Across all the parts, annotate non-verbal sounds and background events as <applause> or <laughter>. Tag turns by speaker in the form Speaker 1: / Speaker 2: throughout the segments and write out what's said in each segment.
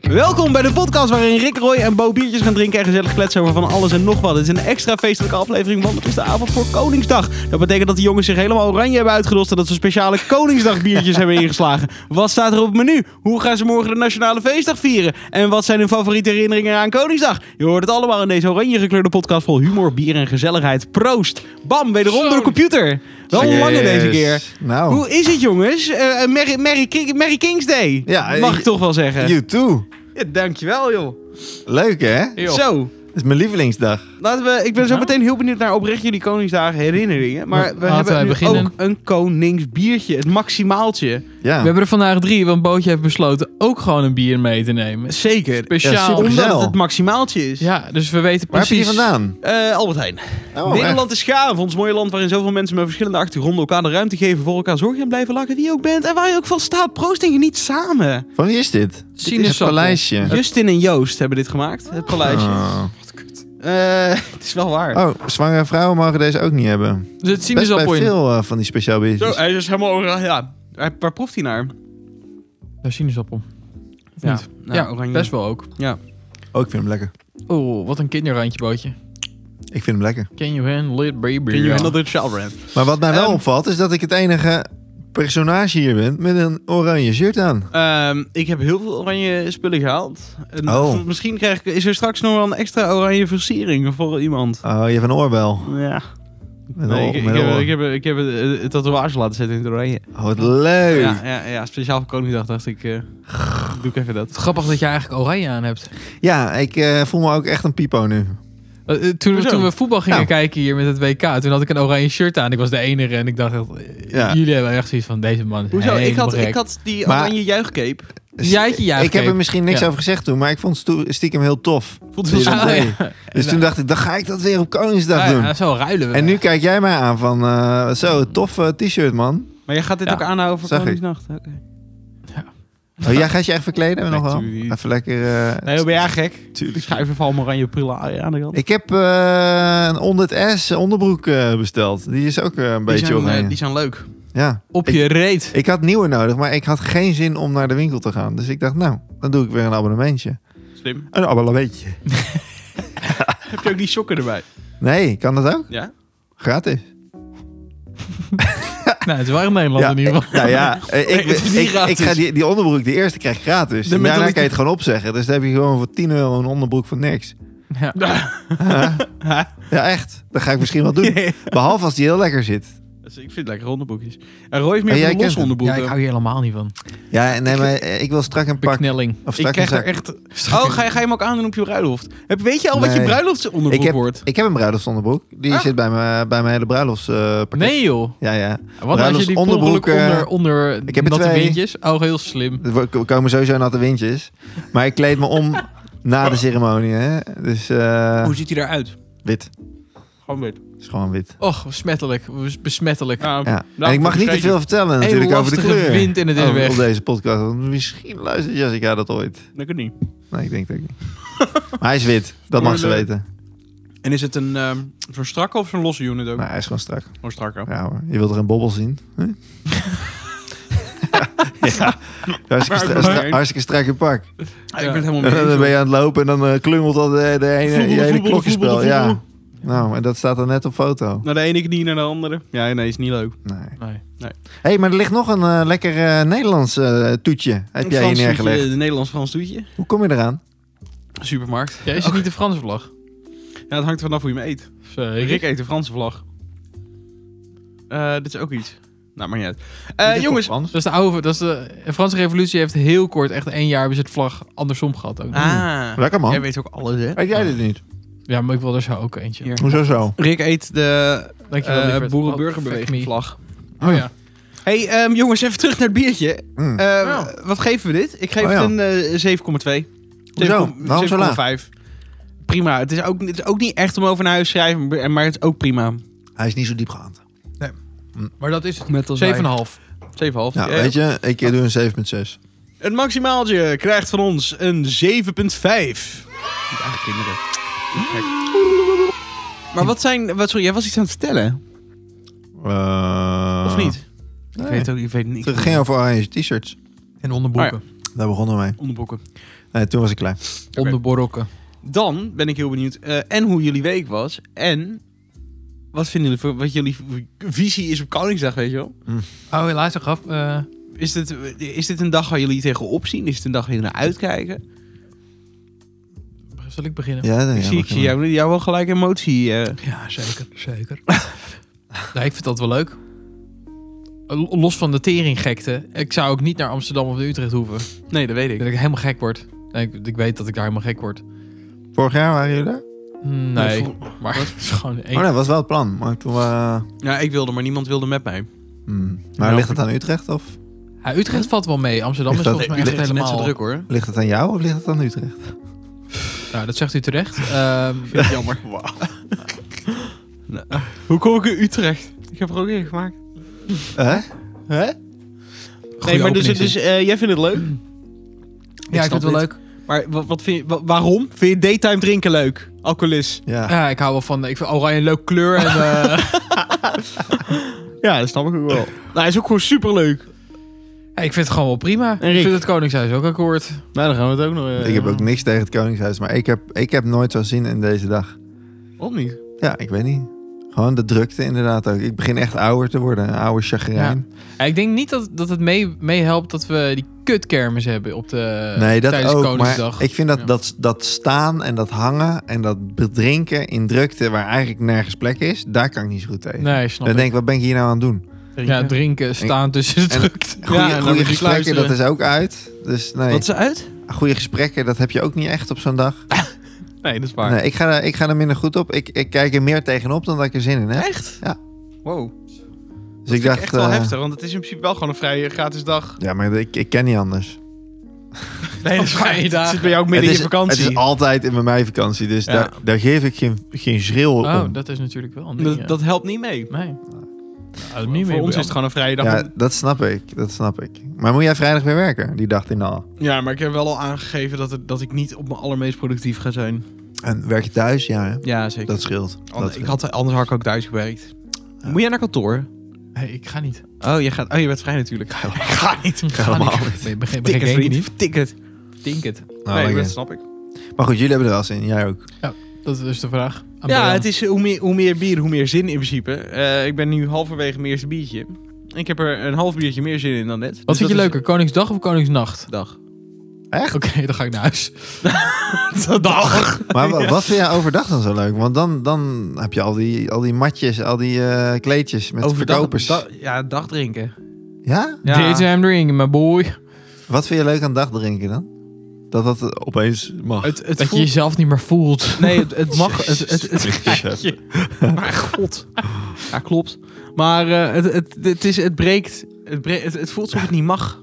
Speaker 1: Welkom bij de podcast waarin Rick, Roy en Bo biertjes gaan drinken en gezellig kletsen over van alles en nog wat. Het is een extra feestelijke aflevering, want het is de avond voor Koningsdag. Dat betekent dat de jongens zich helemaal oranje hebben uitgedost en dat ze speciale Koningsdag biertjes hebben ingeslagen. Wat staat er op het menu? Hoe gaan ze morgen de nationale feestdag vieren? En wat zijn hun favoriete herinneringen aan Koningsdag? Je hoort het allemaal in deze oranje gekleurde podcast vol humor, bier en gezelligheid. Proost! Bam, wederom
Speaker 2: Zo.
Speaker 1: door de computer. Wel een lange deze keer.
Speaker 3: Nou,
Speaker 1: Hoe is het, jongens? Eh, eh, Merry, Merry, King- Merry King's Day.
Speaker 3: Ja,
Speaker 1: mag
Speaker 3: ik-
Speaker 1: ik toch wel zeggen.
Speaker 3: you too.
Speaker 1: Ja, dankjewel, joh.
Speaker 3: Leuk hè?
Speaker 2: Joh.
Speaker 1: Zo,
Speaker 3: Dat is mijn lievelingsdag.
Speaker 1: laten we, ik ben zo
Speaker 2: Nou.
Speaker 1: meteen heel benieuwd naar oprecht jullie Koningsdagen herinneringen. Maar
Speaker 2: Laten
Speaker 1: we
Speaker 2: wij
Speaker 1: hebben nu
Speaker 2: beginnen.
Speaker 1: ook een Koningsbiertje, het maximaaltje.
Speaker 3: Ja,
Speaker 2: We hebben er vandaag drie, want Bootje heeft besloten ook gewoon een bier mee te nemen.
Speaker 1: Zeker.
Speaker 3: Ja,
Speaker 2: Speciaal.
Speaker 3: super.
Speaker 1: Omdat
Speaker 3: Gezel.
Speaker 1: het het maximaaltje is.
Speaker 2: Ja, dus we weten
Speaker 3: waar heb je die
Speaker 2: precies.
Speaker 3: vandaan?
Speaker 1: Eh, Albert Heijn.
Speaker 3: Oh,
Speaker 1: Nederland is gaaf, ons mooie land waarin zoveel mensen met verschillende achtergronden elkaar de ruimte geven voor elkaar zorgen en blijven lachen wie je ook bent en waar je ook van staat. Proost en geniet samen.
Speaker 3: echt? Van wie is dit? Dit is een
Speaker 2: Sinaasappel.
Speaker 3: paleisje.
Speaker 1: Justin en Joost hebben dit gemaakt, het paleisje.
Speaker 3: Oh.
Speaker 1: Eh, <laughs> het is wel waar.
Speaker 3: Oh, zwangere vrouwen mogen deze ook niet hebben.
Speaker 2: Dus het
Speaker 3: Best bij
Speaker 2: sinaasappel in.
Speaker 3: veel eh, van die speciaal
Speaker 1: Zo,
Speaker 3: biertjes.
Speaker 1: hij is helemaal oranje. Ja. Waar, waar proeft hij naar?
Speaker 2: Ja, sinaasappel. Of
Speaker 1: Ja,
Speaker 2: niet?
Speaker 1: nou,
Speaker 2: ja
Speaker 1: oranje.
Speaker 2: best wel ook.
Speaker 3: Oh, ik vind hem lekker.
Speaker 2: Oh, wat een kinderrandje, Bootje.
Speaker 3: Ik vind hem lekker.
Speaker 2: Can you handle it, baby?
Speaker 1: Kun je
Speaker 2: Ja.
Speaker 1: handle the child brand?
Speaker 3: Maar wat mij wel
Speaker 1: Ehm.
Speaker 3: opvalt, is dat ik het enige personage hier ben met een oranje shirt aan.
Speaker 1: Ehm, ik heb heel veel oranje spullen gehaald. En
Speaker 3: Oh.
Speaker 1: Misschien krijg ik, is er straks nog wel een extra oranje versiering voor iemand.
Speaker 3: Oh, je hebt een oorbel.
Speaker 1: Ja.
Speaker 3: Met
Speaker 1: Nee, ik,
Speaker 3: een oor-
Speaker 1: ik
Speaker 3: met een
Speaker 1: heb,
Speaker 3: oor.
Speaker 1: ik heb, ik heb het, eh, het tatoeage laten zetten in het oranje.
Speaker 3: Oh, wat leuk.
Speaker 1: Ja, ja, ja, speciaal voor Koningsdag dacht ik, eh, doe ik even dat.
Speaker 2: Het is grappig dat je eigenlijk oranje aan hebt.
Speaker 3: Ja, ik eh, voel me ook echt een pipo nu.
Speaker 2: Eh, eh, toen,
Speaker 1: Hoezo?
Speaker 2: toen we voetbal gingen
Speaker 3: Nou.
Speaker 2: kijken hier met het WK, toen had ik een oranje shirt aan. Ik was de enige en ik dacht, echt, eh,
Speaker 3: Ja.
Speaker 2: jullie hebben echt zoiets van deze man. is
Speaker 1: Hoezo? Ik
Speaker 2: helemaal
Speaker 1: had, ik
Speaker 2: gek.
Speaker 1: had die
Speaker 3: Maar-
Speaker 1: oranje juichcape.
Speaker 2: Jij had je
Speaker 3: Dus ik heb
Speaker 2: juichcape.
Speaker 3: er misschien niks
Speaker 2: Ja.
Speaker 3: over gezegd toen, maar ik vond het stoer- stiekem heel tof.
Speaker 1: Vond het heel
Speaker 3: Ja.
Speaker 1: stoer.
Speaker 3: Nee.
Speaker 2: Ah, ja.
Speaker 3: Dus toen dacht ik, dan ga ik dat weer op Koningsdag
Speaker 2: Ah,
Speaker 3: doen.
Speaker 2: ja, Zo ruilen we.
Speaker 3: En nu kijk jij mij aan van, eh, zo, tof eh, t-shirt man.
Speaker 1: Maar jij gaat dit
Speaker 2: Ja.
Speaker 1: ook aanhouden voor
Speaker 3: Zag ik.
Speaker 1: Koningsnacht? Oké.
Speaker 3: Oh, jij gaat je echt verkleden nog wel?
Speaker 1: Natuurlijk niet.
Speaker 3: Even lekker... eh,
Speaker 1: Nee, dan ben jij gek? Ik
Speaker 3: tuurlijk.
Speaker 1: schuif even al mijn oranje prullen aan de kant.
Speaker 3: Ik heb eh, een onder het S onderbroek eh, besteld. Die is ook eh, een
Speaker 1: die,
Speaker 3: beetje
Speaker 1: zijn, eh,
Speaker 3: oranje.
Speaker 1: die zijn leuk.
Speaker 3: Ja.
Speaker 2: Op
Speaker 3: Ik-
Speaker 2: je reet.
Speaker 3: Ik had nieuwe nodig, maar ik had geen zin om naar de winkel te gaan. Dus ik dacht, nou, dan doe ik weer een abonnementje.
Speaker 1: Slim.
Speaker 3: Een abonnementje.
Speaker 1: Heb je ook die sokken
Speaker 3: <laughs>
Speaker 1: erbij?
Speaker 3: Nee, kan dat ook?
Speaker 1: Ja?
Speaker 3: Gratis.
Speaker 2: Nou, het is warm in Nederland
Speaker 3: Ja,
Speaker 2: in ieder geval.
Speaker 3: Nou
Speaker 1: <laughs>
Speaker 3: ja, eh, ik,
Speaker 1: het is niet
Speaker 3: ik, ik,
Speaker 1: gratis.
Speaker 3: ga die, die onderbroek, die eerste krijg ik gratis.
Speaker 1: De
Speaker 3: En daarna kan je
Speaker 1: mentaliteit-
Speaker 3: het gewoon opzeggen. Dus dan heb je gewoon voor 10 euro een onderbroek voor niks.
Speaker 1: <laughs>
Speaker 2: Ja.
Speaker 3: Huh? ja, echt. Dat ga ik misschien wel
Speaker 1: <laughs>
Speaker 3: doen. Behalve als die heel lekker zit.
Speaker 1: Dus ik vind lekker rondeboekjes. En Roy is
Speaker 3: En
Speaker 1: meer
Speaker 3: jij
Speaker 1: van
Speaker 3: kent
Speaker 1: los
Speaker 3: hem.
Speaker 1: onderbroeken.
Speaker 2: Ja, ik hou hier helemaal niet van.
Speaker 3: Ja, nee, maar eh, ik wil strak een pak.
Speaker 2: Beknelling.
Speaker 3: Of
Speaker 1: Ik
Speaker 3: strak een
Speaker 1: krijg er
Speaker 3: zak.
Speaker 1: echt... Oh, ga je, ga je hem ook aandoen op je bruiloft? Heb, weet je al wat je
Speaker 3: Nee.
Speaker 1: bruiloftsonderbroek
Speaker 3: Ik heb-
Speaker 1: wordt?
Speaker 3: Ik heb een bruiloftsonderbroek. Die
Speaker 1: Ah.
Speaker 3: zit bij, me, bij mijn hele bruiloftspakket.
Speaker 2: Nee joh.
Speaker 3: Ja, ja.
Speaker 2: Wat als je die per ongeluk
Speaker 3: Bruiloftsonderbroeken.
Speaker 2: onder, onder
Speaker 3: eh, Ik heb er
Speaker 2: natte
Speaker 3: twee.
Speaker 2: windjes? Oh, heel slim.
Speaker 3: Er wo- ko- komen sowieso natte windjes. Maar ik kleed me om na de ceremonie, hè. Dus eh,
Speaker 1: Hoe ziet hij eruit?
Speaker 3: wit.
Speaker 1: Gewoon wit.
Speaker 3: is gewoon wit.
Speaker 2: Och, besmettelijk. Besmettelijk.
Speaker 3: Ja.
Speaker 1: Nou,
Speaker 3: En ik mag niet te veel vertellen
Speaker 2: Eén
Speaker 3: natuurlijk over de Oh,
Speaker 2: lastige
Speaker 3: kleur.
Speaker 2: wind en het is
Speaker 3: Over-
Speaker 2: weg.
Speaker 3: Op deze podcast. Want Misschien luistert Jessica dat ooit.
Speaker 1: Dat kan niet.
Speaker 3: Nee, ik denk dat ik
Speaker 1: <laughs>
Speaker 3: niet. Maar hij is wit. Dat mag ze weten.
Speaker 1: En is het een ehm zo'n strakke of zo'n losse unit ook?
Speaker 3: Maar hij is gewoon strak.
Speaker 1: Gewoon strakke.
Speaker 3: Ja hoor, je wilt er een bobbel zien.
Speaker 1: <laughs>
Speaker 3: Hè? ja, hartstikke, stra-
Speaker 1: Maar-
Speaker 3: stra- hartstikke strak in pak.
Speaker 1: Ah, ik ben het helemaal
Speaker 3: En
Speaker 1: mee
Speaker 3: <laughs> dan
Speaker 1: eens,
Speaker 3: ben je aan het lopen en dan eh, klungelt dat eh, de
Speaker 1: Voetballen,
Speaker 3: ene, je hele
Speaker 1: voetballen,
Speaker 3: klokjespel.
Speaker 1: voetballen,
Speaker 3: Ja.
Speaker 1: voetballen.
Speaker 3: Nou, en dat staat dan net op foto.
Speaker 1: Naar de ene knie, naar de andere. Ja, nee, is niet leuk.
Speaker 3: Nee.
Speaker 2: Nee.
Speaker 3: Hé, hey, maar er ligt nog een eh, lekker eh, Nederlands eh, toetje. Heb jij hier
Speaker 1: Frans
Speaker 3: neergelegd?
Speaker 1: toetje, Een Nederlands-Frans toetje.
Speaker 3: Hoe kom je eraan?
Speaker 1: Supermarkt.
Speaker 2: Ja,
Speaker 3: Oh.
Speaker 2: is het niet de Franse vlag?
Speaker 1: Ja, het hangt er vanaf hoe je hem eet. Rick eet de Franse vlag. Eh, dit is ook iets. Nou, maar niet uit. Eh,
Speaker 3: Dit is
Speaker 1: jongens,
Speaker 3: toch Frans?
Speaker 2: Dat is de oude... Dat is de, de Franse revolutie heeft heel kort, echt één jaar, hebben ze het vlag andersom gehad ook.
Speaker 1: Ah,
Speaker 3: Lekker man.
Speaker 1: jij weet ook alles, hè?
Speaker 3: Weet jij dit niet?
Speaker 2: Ja, maar ik wil er zo ook eentje.
Speaker 1: Hier.
Speaker 3: Hoezo zo?
Speaker 1: Rick eet de
Speaker 2: Dankjewel,
Speaker 1: eh,
Speaker 2: lieverd. Oh,
Speaker 1: boerenburgerbeweging
Speaker 2: fuck me.
Speaker 1: vlag.
Speaker 2: Oh ja.
Speaker 1: Hey, ehm, jongens, even terug naar het biertje.
Speaker 3: Mm.
Speaker 1: Eh,
Speaker 2: Ja.
Speaker 1: Wat geven we dit? Ik geef
Speaker 3: Oh,
Speaker 1: het
Speaker 3: ja.
Speaker 1: een eh, 7,2.
Speaker 3: Hoezo? Waarom zo laag?
Speaker 1: 7,5. Prima. Het is, ook, het is ook niet echt om over naar huis te schrijven, maar- maar het is ook prima. 7,5.
Speaker 3: Hij is niet zo diepgaand.
Speaker 2: Maar dat is het.
Speaker 1: Net
Speaker 2: 7,5.
Speaker 3: Nou,
Speaker 1: Ja.
Speaker 3: weet je, ik doe een 7,6.
Speaker 1: Het maximaaltje krijgt van ons een 7,5. Ja, kinderen. Maar wat zijn... Wat, sorry, jij was iets aan het vertellen,
Speaker 3: Eh,
Speaker 1: of niet?
Speaker 3: nee.
Speaker 1: ook ik weet niks.
Speaker 3: Het ging over oranje t-shirts.
Speaker 2: En onderboeken.
Speaker 1: Oh
Speaker 3: Daar begonnen we mee.
Speaker 1: Onderboeken. Oké,
Speaker 3: Nee, toen was ik klaar.
Speaker 1: Oké.
Speaker 2: Om de borrokken.
Speaker 1: Dan ben ik heel benieuwd eh, en hoe jullie week was. En wat vinden jullie, voor- wat jullie visie is op Koningsdag, weet je wel?
Speaker 2: Oh, helaas, gaf. eh
Speaker 1: Is dit, is dit een dag waar jullie tegenop zien? Is het een dag waar jullie naar uitkijken?
Speaker 2: zal ik beginnen?
Speaker 3: Ja, nee,
Speaker 1: ik zie, ik zie jou, jou wel gelijk emotie. eh.
Speaker 2: Ja, zeker. Zeker. <laughs> nee, ik vind dat wel leuk. L- Los van de teringgekte. Ik zou ook niet naar Amsterdam of naar Utrecht hoeven.
Speaker 1: Nee, dat weet ik.
Speaker 2: Dat ik helemaal gek word. Nee, ik, ik weet dat ik daar helemaal gek word.
Speaker 3: Vorig jaar waren jullie daar?
Speaker 2: Nee,
Speaker 1: vol-
Speaker 2: <laughs> maar het is gewoon één.
Speaker 3: Oh nee, dat was wel het plan. Maar toen... eh,
Speaker 1: Ja, ik wilde, maar niemand wilde met mij.
Speaker 3: hmm. Maar
Speaker 2: Nou,
Speaker 3: ligt het aan Utrecht of
Speaker 2: Ja, Utrecht valt wel mee. Amsterdam is
Speaker 3: Ligt dat-
Speaker 2: volgens mij
Speaker 1: Utrecht
Speaker 2: echt
Speaker 1: is net
Speaker 2: helemaal...
Speaker 1: zo druk hoor.
Speaker 3: ligt het aan jou of ligt het aan Utrecht?
Speaker 2: Nou, dat zegt u <laughs> terecht. Ehm,
Speaker 1: Jammer. <laughs> Nou, Hoe kom ik in Utrecht? Ik heb er ook in gemaakt.
Speaker 3: Hè?
Speaker 1: Hè?
Speaker 2: goeie
Speaker 1: Nee, maar dus,
Speaker 2: opening,
Speaker 1: dus eh, jij vindt het leuk.
Speaker 2: Ja, ik vind het wel leuk.
Speaker 1: Maar wat, wat vind je, wa- waarom? Vind je daytime drinken leuk? Alcoholist.
Speaker 3: Ja.
Speaker 2: Ja, ik hou wel van... Ik vind oranje een leuk kleur. <laughs> En, eh,
Speaker 1: Ja, dat snap ik ook wel. Nou, hij is ook gewoon superleuk.
Speaker 2: ja, ik vind het gewoon wel prima.
Speaker 1: Riek?
Speaker 2: Ik vind het Koningshuis ook akkoord.
Speaker 1: Nou, dan gaan we het ook nog... eh,
Speaker 3: Ik heb ook niks tegen het Koningshuis, maar ik heb, ik heb nooit zo zin in deze dag.
Speaker 1: Waarom niet?
Speaker 3: Ja, ik weet niet. Gewoon de drukte inderdaad ook. Ik begin echt ouder te worden, een oude chagrijn.
Speaker 2: Ja, ik denk niet dat, dat het mee- meehelpt dat we die kutkermis hebben op
Speaker 1: eh,
Speaker 2: de,
Speaker 3: nee, dat
Speaker 2: tijdens
Speaker 3: ook.
Speaker 2: Koningsdag.
Speaker 3: Maar ik vind dat,
Speaker 2: Ja.
Speaker 3: dat, dat staan en dat hangen en dat bedrinken in drukte waar eigenlijk nergens plek is, daar kan ik niet zo goed tegen.
Speaker 2: Nee, snap
Speaker 3: Dan
Speaker 2: ik.
Speaker 3: denk ik, wat ben ik hier nou aan het doen?
Speaker 2: Ja, drinken, staan tussen de
Speaker 3: en- Oh,
Speaker 2: drukte.
Speaker 3: Goede,
Speaker 1: en dan
Speaker 3: goede
Speaker 1: muziek
Speaker 3: gesprekken, dat
Speaker 1: luisteren.
Speaker 3: is ook uit. Dus nee,
Speaker 1: Wat is er uit?
Speaker 3: goede gesprekken, dat heb je ook niet echt op zo'n dag.
Speaker 1: Nee, dat is waar.
Speaker 3: Nee, ik ga, er, ik ga er minder goed op. Ik, ik kijk er meer tegenop dan dat ik er zin in heb.
Speaker 1: Echt?
Speaker 3: Ja.
Speaker 1: Wow.
Speaker 3: Dus
Speaker 1: Dat
Speaker 3: ik
Speaker 1: vind
Speaker 3: dacht,
Speaker 1: ik echt wel
Speaker 3: eh,
Speaker 1: heftig, want het is in principe wel gewoon een vrije gratis <laughs> dag.
Speaker 3: ja, maar ik, ik ken niet anders.
Speaker 1: Nee,
Speaker 2: dat is waar.
Speaker 1: <laughs> Het zit bij jou ook midden in je vakantie.
Speaker 3: Het is altijd in mijn vakantie, dus
Speaker 1: Ja.
Speaker 3: daar, daar geef ik geen, geen schreeuw
Speaker 2: Oh,
Speaker 3: om.
Speaker 2: dat is natuurlijk wel een ding, ja.
Speaker 1: dat, dat helpt niet mee.
Speaker 2: Nee. Nou,
Speaker 1: Voor
Speaker 2: niet meer
Speaker 1: ons is het gewoon een vrije dag.
Speaker 3: ja,
Speaker 1: om-
Speaker 3: dat snap ik, dat snap ik. Maar moet jij vrijdag weer werken, die dag daarna?
Speaker 1: Ja, maar ik heb wel al aangegeven dat, het, dat ik niet op mijn allermeest productief ga zijn.
Speaker 3: En werk je thuis? Ja, hè?
Speaker 1: Ja, zeker.
Speaker 3: dat scheelt.
Speaker 1: Ander-
Speaker 3: Dat
Speaker 1: Oh, ik
Speaker 3: scheelt.
Speaker 1: had, anders had ik ook thuis gewerkt. Moet jij naar kantoor?
Speaker 2: Nee, ik ga
Speaker 3: <laughs>
Speaker 2: niet.
Speaker 1: Oh, je, gaat, oh, je bent vrij natuurlijk. ik ga niet.
Speaker 2: Ik ga
Speaker 3: helemaal
Speaker 2: niet. Nee, begin- begin
Speaker 1: Ticket,
Speaker 2: ik denk niet.
Speaker 1: vriend. Ticket.
Speaker 2: Denk het.
Speaker 3: Nou,
Speaker 1: nee,
Speaker 3: lekker.
Speaker 1: dat snap ik.
Speaker 3: Maar goed, jullie hebben er wel zin in, jij ook.
Speaker 2: Dat is de vraag. aan
Speaker 1: Ja,
Speaker 2: Brian.
Speaker 1: het is eh, hoe meer, hoe meer bier, hoe meer zin in principe. Eh, ik ben nu halverwege mijn eerste biertje. Ik heb er een half biertje meer zin in dan net. Dus
Speaker 2: Wat vind je leuker, Koningsdag of Koningsnacht?
Speaker 1: Dag.
Speaker 2: Echt? Oké, dan ga ik naar huis.
Speaker 1: Dag.
Speaker 3: Maar wa- wat vind jij overdag dan zo leuk? Want dan, dan heb je al die, al die matjes, al die eh, kleedjes met verkopers.
Speaker 1: ja, dag drinken.
Speaker 3: ja?
Speaker 1: Ja.
Speaker 2: Dit is drinken, my boy.
Speaker 3: Wat vind je leuk aan dagdrinken dan? Dat dat eh, opeens mag.
Speaker 1: Het, het
Speaker 2: dat
Speaker 1: voelt-
Speaker 2: je jezelf niet meer voelt.
Speaker 1: Nee, het, het mag. Het,
Speaker 3: <laughs>
Speaker 1: het, <laughs> het,
Speaker 3: Jezus.
Speaker 1: maar god. Ja, klopt. Maar eh, het, het, het, is, het breekt. Het, bre- het, het voelt alsof het niet mag.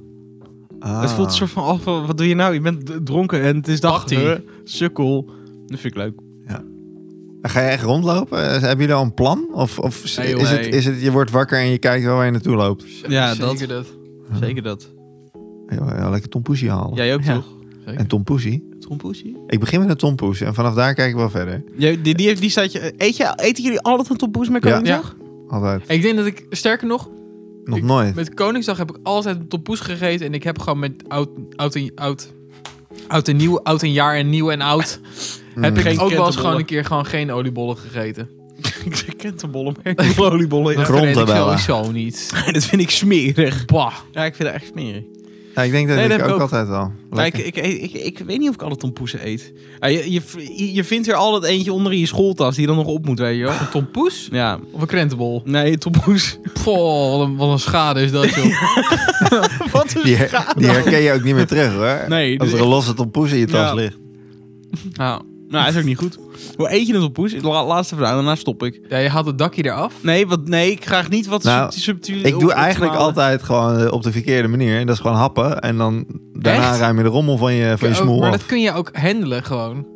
Speaker 3: Ah.
Speaker 1: Het voelt een soort van, oh, wa- wat doe je nou? Je bent d- dronken en het is dag.
Speaker 2: Party.
Speaker 1: Huh? Sukkel. Dat vind ik leuk.
Speaker 3: Ga je echt rondlopen? Eh, Hebben jullie al een plan? Of, of is,
Speaker 2: Nee, joh,
Speaker 3: is het,
Speaker 2: nee.
Speaker 3: is het, je wordt wakker en je kijkt wel waar je naartoe loopt?
Speaker 1: Ja,
Speaker 2: Zeker
Speaker 1: dat.
Speaker 2: dat.
Speaker 1: Zeker dat.
Speaker 3: Ja, ja, lekker tompoesie halen.
Speaker 1: Jij ook
Speaker 2: Ja.
Speaker 1: toch?
Speaker 3: En tompoesie?
Speaker 1: Trompoesie?
Speaker 3: Ik begin met een tompoes en vanaf daar kijk ik wel verder.
Speaker 1: Jij- die, die, heeft- die staat je, eet je, eten jullie altijd een tompoes met Koningsdag?
Speaker 3: Altijd.
Speaker 2: Ik denk dat ik, sterker nog,
Speaker 3: Nog
Speaker 2: Ik-
Speaker 3: nooit.
Speaker 2: met Koningsdag heb ik altijd een tompoes gegeten. En ik heb gewoon met oud, oud, en, oud, oud en nieuw, oud en jaar en nieuw en oud...
Speaker 3: Mm. Hmm.
Speaker 2: heb ik
Speaker 1: Geen
Speaker 2: ook wel eens
Speaker 1: krentenbollen.
Speaker 2: gewoon een keer gewoon geen oliebollen gegeten.
Speaker 1: <laughs> Ik ken de bollen, <laughs> maar ik wil oliebollen.
Speaker 2: Dat
Speaker 1: Ja.
Speaker 3: Grond
Speaker 2: weet ik
Speaker 3: daarbij, hè?
Speaker 2: sowieso niet.
Speaker 1: Dat vind ik smerig.
Speaker 2: Bah.
Speaker 1: Ja, ik vind het echt smerig.
Speaker 3: Ja, ik denk dat
Speaker 1: Nee, dat
Speaker 3: ik
Speaker 1: heb
Speaker 3: ook,
Speaker 1: ik ook.
Speaker 3: altijd wel.
Speaker 1: Maar ik,
Speaker 3: Lekker.
Speaker 1: ik, ik, ik, ik weet niet of ik altijd tompoesen eet. Ja, je, je, je vindt er altijd eentje onder in je schooltas die je dan nog op moet, weet je wel.
Speaker 2: Een tompoes
Speaker 1: Ja.
Speaker 2: of een krentenbol?
Speaker 1: Nee, tompoes.
Speaker 2: Poh, wat een, wat een schade is
Speaker 3: <laughs>
Speaker 2: dat, joh.
Speaker 1: <laughs> Wat een
Speaker 3: Die, her-
Speaker 1: scha-
Speaker 3: die herken je ook niet meer terug hoor.
Speaker 1: Nee,
Speaker 3: Als
Speaker 1: dus-
Speaker 3: er een losse tompoes in je tas
Speaker 1: Ja.
Speaker 3: ligt.
Speaker 1: Nou, nou, is ook niet goed. Hoe eet je een tompoes? La- laatste vraag, daarna stop ik.
Speaker 2: Ja, je haalt het dakje eraf.
Speaker 1: Nee, wat, nee ik graag niet wat
Speaker 3: Nou,
Speaker 1: sub- subtiel.
Speaker 3: Ik
Speaker 1: op-
Speaker 3: doe
Speaker 1: op-
Speaker 3: eigenlijk
Speaker 1: optimale-
Speaker 3: altijd gewoon eh, op de verkeerde manier. En dat is gewoon happen. En dan daarna
Speaker 2: Echt?
Speaker 3: ruim je de rommel van je, van je
Speaker 2: Oh,
Speaker 3: smoel
Speaker 2: maar
Speaker 3: af.
Speaker 2: dat kun je ook handelen gewoon.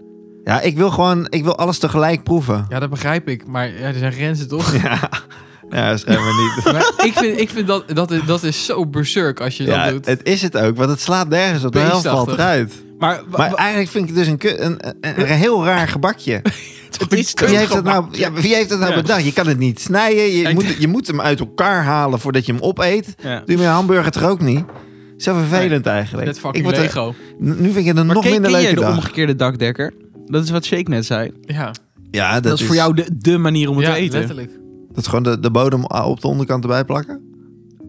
Speaker 3: Ja, ik wil gewoon ik wil alles tegelijk proeven. <laughs>
Speaker 2: Ja, dat begrijp ik. Maar ja, er zijn grenzen, toch?
Speaker 3: Ja, dat is helemaal
Speaker 1: <laughs>
Speaker 3: niet.
Speaker 2: Maar ik vind, ik vind dat, dat, is, dat is zo berserk als je dat
Speaker 3: Ja,
Speaker 2: doet.
Speaker 3: het is het ook, want het slaat nergens op. De helft
Speaker 2: Beestachtig.
Speaker 3: valt eruit.
Speaker 1: Maar, wa-
Speaker 3: Maar
Speaker 1: wa-
Speaker 3: eigenlijk vind ik het dus een, ku- een, een, een heel raar gebakje.
Speaker 1: het is
Speaker 3: Wie
Speaker 1: toch-
Speaker 3: heeft, dat nou, ja, wie heeft dat nou
Speaker 1: Ja.
Speaker 3: bedacht? Je kan het niet snijden. Je
Speaker 1: Ik-
Speaker 3: moet, je moet hem uit elkaar halen voordat je hem opeet.
Speaker 1: Ja.
Speaker 3: Doe je met een hamburger toch ook niet? Zo vervelend eigenlijk.
Speaker 2: Net
Speaker 3: ik
Speaker 2: fucking
Speaker 3: word er-
Speaker 2: Lego.
Speaker 3: N- nu vind ik het een
Speaker 1: Maar
Speaker 3: nog
Speaker 1: ken,
Speaker 3: minder
Speaker 1: ken jij
Speaker 3: leuke
Speaker 1: de
Speaker 3: dag.
Speaker 1: omgekeerde dakdekker? Dat is wat Shake net zei. Dat,
Speaker 2: Ja,
Speaker 3: Ja, dat,
Speaker 1: is voor jou de, de manier om het
Speaker 2: ja
Speaker 1: te eten.
Speaker 2: letterlijk.
Speaker 3: Dat is gewoon de, de bodem ah, op de onderkant erbij plakken.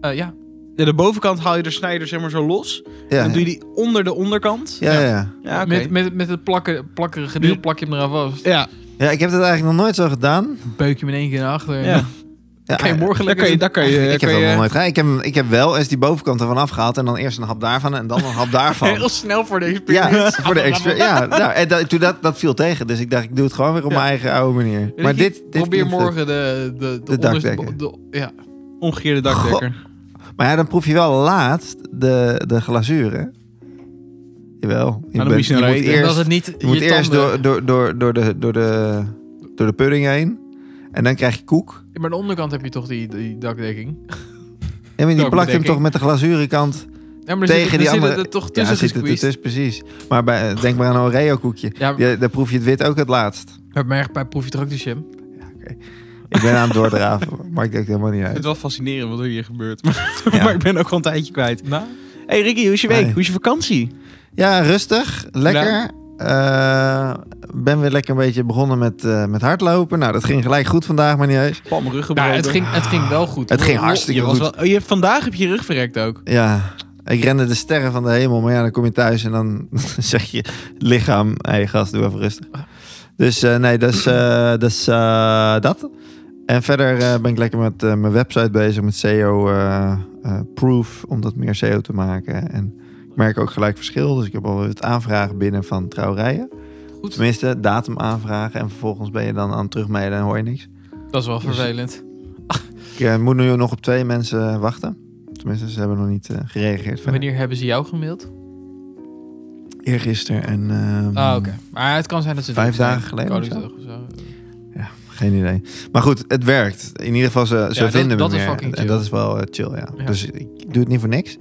Speaker 2: Eh, ja.
Speaker 1: Ja, de bovenkant haal je de snijder zeg maar zo los.
Speaker 3: Ja,
Speaker 1: dan doe je die onder de onderkant.
Speaker 3: ja, ja, ja.
Speaker 1: Ja, oké.
Speaker 2: Met, met, met het plakken, plakkerige deel
Speaker 1: Dus-
Speaker 2: plak je hem eraan vast.
Speaker 1: ja,
Speaker 3: Ja, ik heb dat eigenlijk nog nooit zo gedaan.
Speaker 2: Beuk je hem in één keer naar
Speaker 1: <laughs>
Speaker 2: achter.
Speaker 1: ja.
Speaker 3: Ja,
Speaker 2: Kan je morgen
Speaker 1: Daar
Speaker 2: lekker...
Speaker 1: kan je, daar kan je,
Speaker 3: ik heb
Speaker 1: kan
Speaker 3: dat
Speaker 1: je-
Speaker 3: nog nooit gedaan. Ik heb, ik heb wel eens die bovenkant ervan afgehaald en dan eerst een hap daarvan en dan een
Speaker 1: <laughs>
Speaker 3: hap daarvan.
Speaker 2: <laughs> Heel snel voor de experience.
Speaker 3: Ja, voor de expert. Ja, nou, en dat, toen dat, dat viel tegen. Dus ik dacht, ik doe het gewoon weer op
Speaker 2: Ja.
Speaker 3: mijn eigen oude manier.
Speaker 2: Weet
Speaker 3: Maar
Speaker 2: je,
Speaker 3: dit, dit
Speaker 2: probeer
Speaker 3: klinkt goed.
Speaker 2: morgen de, de,
Speaker 3: De dakdekker.
Speaker 2: de- ja.
Speaker 1: omgekeerde dakdekker.
Speaker 3: Maar ja, dan proef je wel laatst de, de glazuur, hè? Jawel. Je,
Speaker 1: moet je
Speaker 3: bent-
Speaker 1: snel
Speaker 3: moet
Speaker 1: eten.
Speaker 3: eerst,
Speaker 2: Omdat het niet
Speaker 3: je moet
Speaker 2: je
Speaker 3: eerst
Speaker 2: tanden-
Speaker 3: door, door, door, door, de, door, de, door de pudding heen. En dan krijg je koek.
Speaker 2: Ja, maar aan de onderkant heb je toch die, die dakdekking.
Speaker 3: Ja, maar die
Speaker 2: Ook
Speaker 3: plakt hem
Speaker 2: bedenking.
Speaker 3: toch met de glazurenkant
Speaker 2: Ja, maar
Speaker 3: tegen die
Speaker 2: zit,
Speaker 3: andere...
Speaker 2: Zit het er toch
Speaker 3: ja,
Speaker 2: tussen
Speaker 3: zit het
Speaker 2: gesqueezed.
Speaker 3: ertussen, precies. Maar bij, denk maar aan een Oreo-koekje.
Speaker 2: Ja, maar
Speaker 3: Ja, daar proef je het wit ook het laatst.
Speaker 2: maar erg bij proef je toch ook de jam?
Speaker 3: Ik ben aan het doordraven. <laughs> Maakt ook helemaal niet
Speaker 1: Het is
Speaker 3: uit.
Speaker 1: wel fascinerend wat er hier <laughs> gebeurt.
Speaker 3: Ja.
Speaker 1: maar ik ben ook al een tijdje kwijt.
Speaker 2: Nou?
Speaker 1: hey Ricky, hoe is je week?
Speaker 3: Hey.
Speaker 1: Hoe is je vakantie?
Speaker 3: Ja, rustig. Lekker. Eh, ben weer lekker een beetje begonnen met, eh, met hardlopen. Nou, dat ging gelijk goed vandaag, maar niet uit.
Speaker 1: Pam, rug
Speaker 2: Ja, het ging, het ging wel goed.
Speaker 3: Het
Speaker 2: hoor.
Speaker 3: ging hartstikke
Speaker 1: je was
Speaker 3: goed.
Speaker 1: wel, oh, je, hebt- vandaag heb je rug verrekt ook.
Speaker 3: Ja, ik rende de sterren van de hemel. Maar ja, dan kom je thuis en dan <laughs> zeg je lichaam... Hé hey, gast, doe even rustig. Dus eh, nee, dat is, eh, dat, is eh, dat. En verder eh, ben ik lekker met eh, mijn website bezig. Met E SEO-proof, eh, om dat meer SEO te maken. En ik merk ook gelijk verschil. Dus ik heb al wat aanvragen binnen van trouwerijen.
Speaker 2: Goed.
Speaker 3: Tenminste, datum aanvragen. En vervolgens ben je dan aan het terugmailen en hoor je niks.
Speaker 2: Dat is wel
Speaker 3: Dus-
Speaker 2: vervelend.
Speaker 3: Ik eh, moet nu nog op twee mensen wachten. Tenminste, ze hebben nog niet eh, gereageerd. verder.
Speaker 2: Wanneer hebben ze jou gemaild?
Speaker 3: Eergisteren en... ehm,
Speaker 2: Ah, oké. Maar het kan zijn dat ze...
Speaker 3: Vijf
Speaker 2: druk zijn. Oh,
Speaker 3: dagen geleden of zo?
Speaker 2: Koningsdag of zo.
Speaker 3: Geen idee. Maar goed, het werkt. In ieder geval, ze, ze
Speaker 2: dat-
Speaker 3: vinden
Speaker 2: dat
Speaker 3: me
Speaker 2: is
Speaker 3: meer.
Speaker 2: fucking
Speaker 3: En
Speaker 2: chill.
Speaker 3: dat is wel eh, chill, ja.
Speaker 2: Ja.
Speaker 3: Dus ik doe het niet voor niks.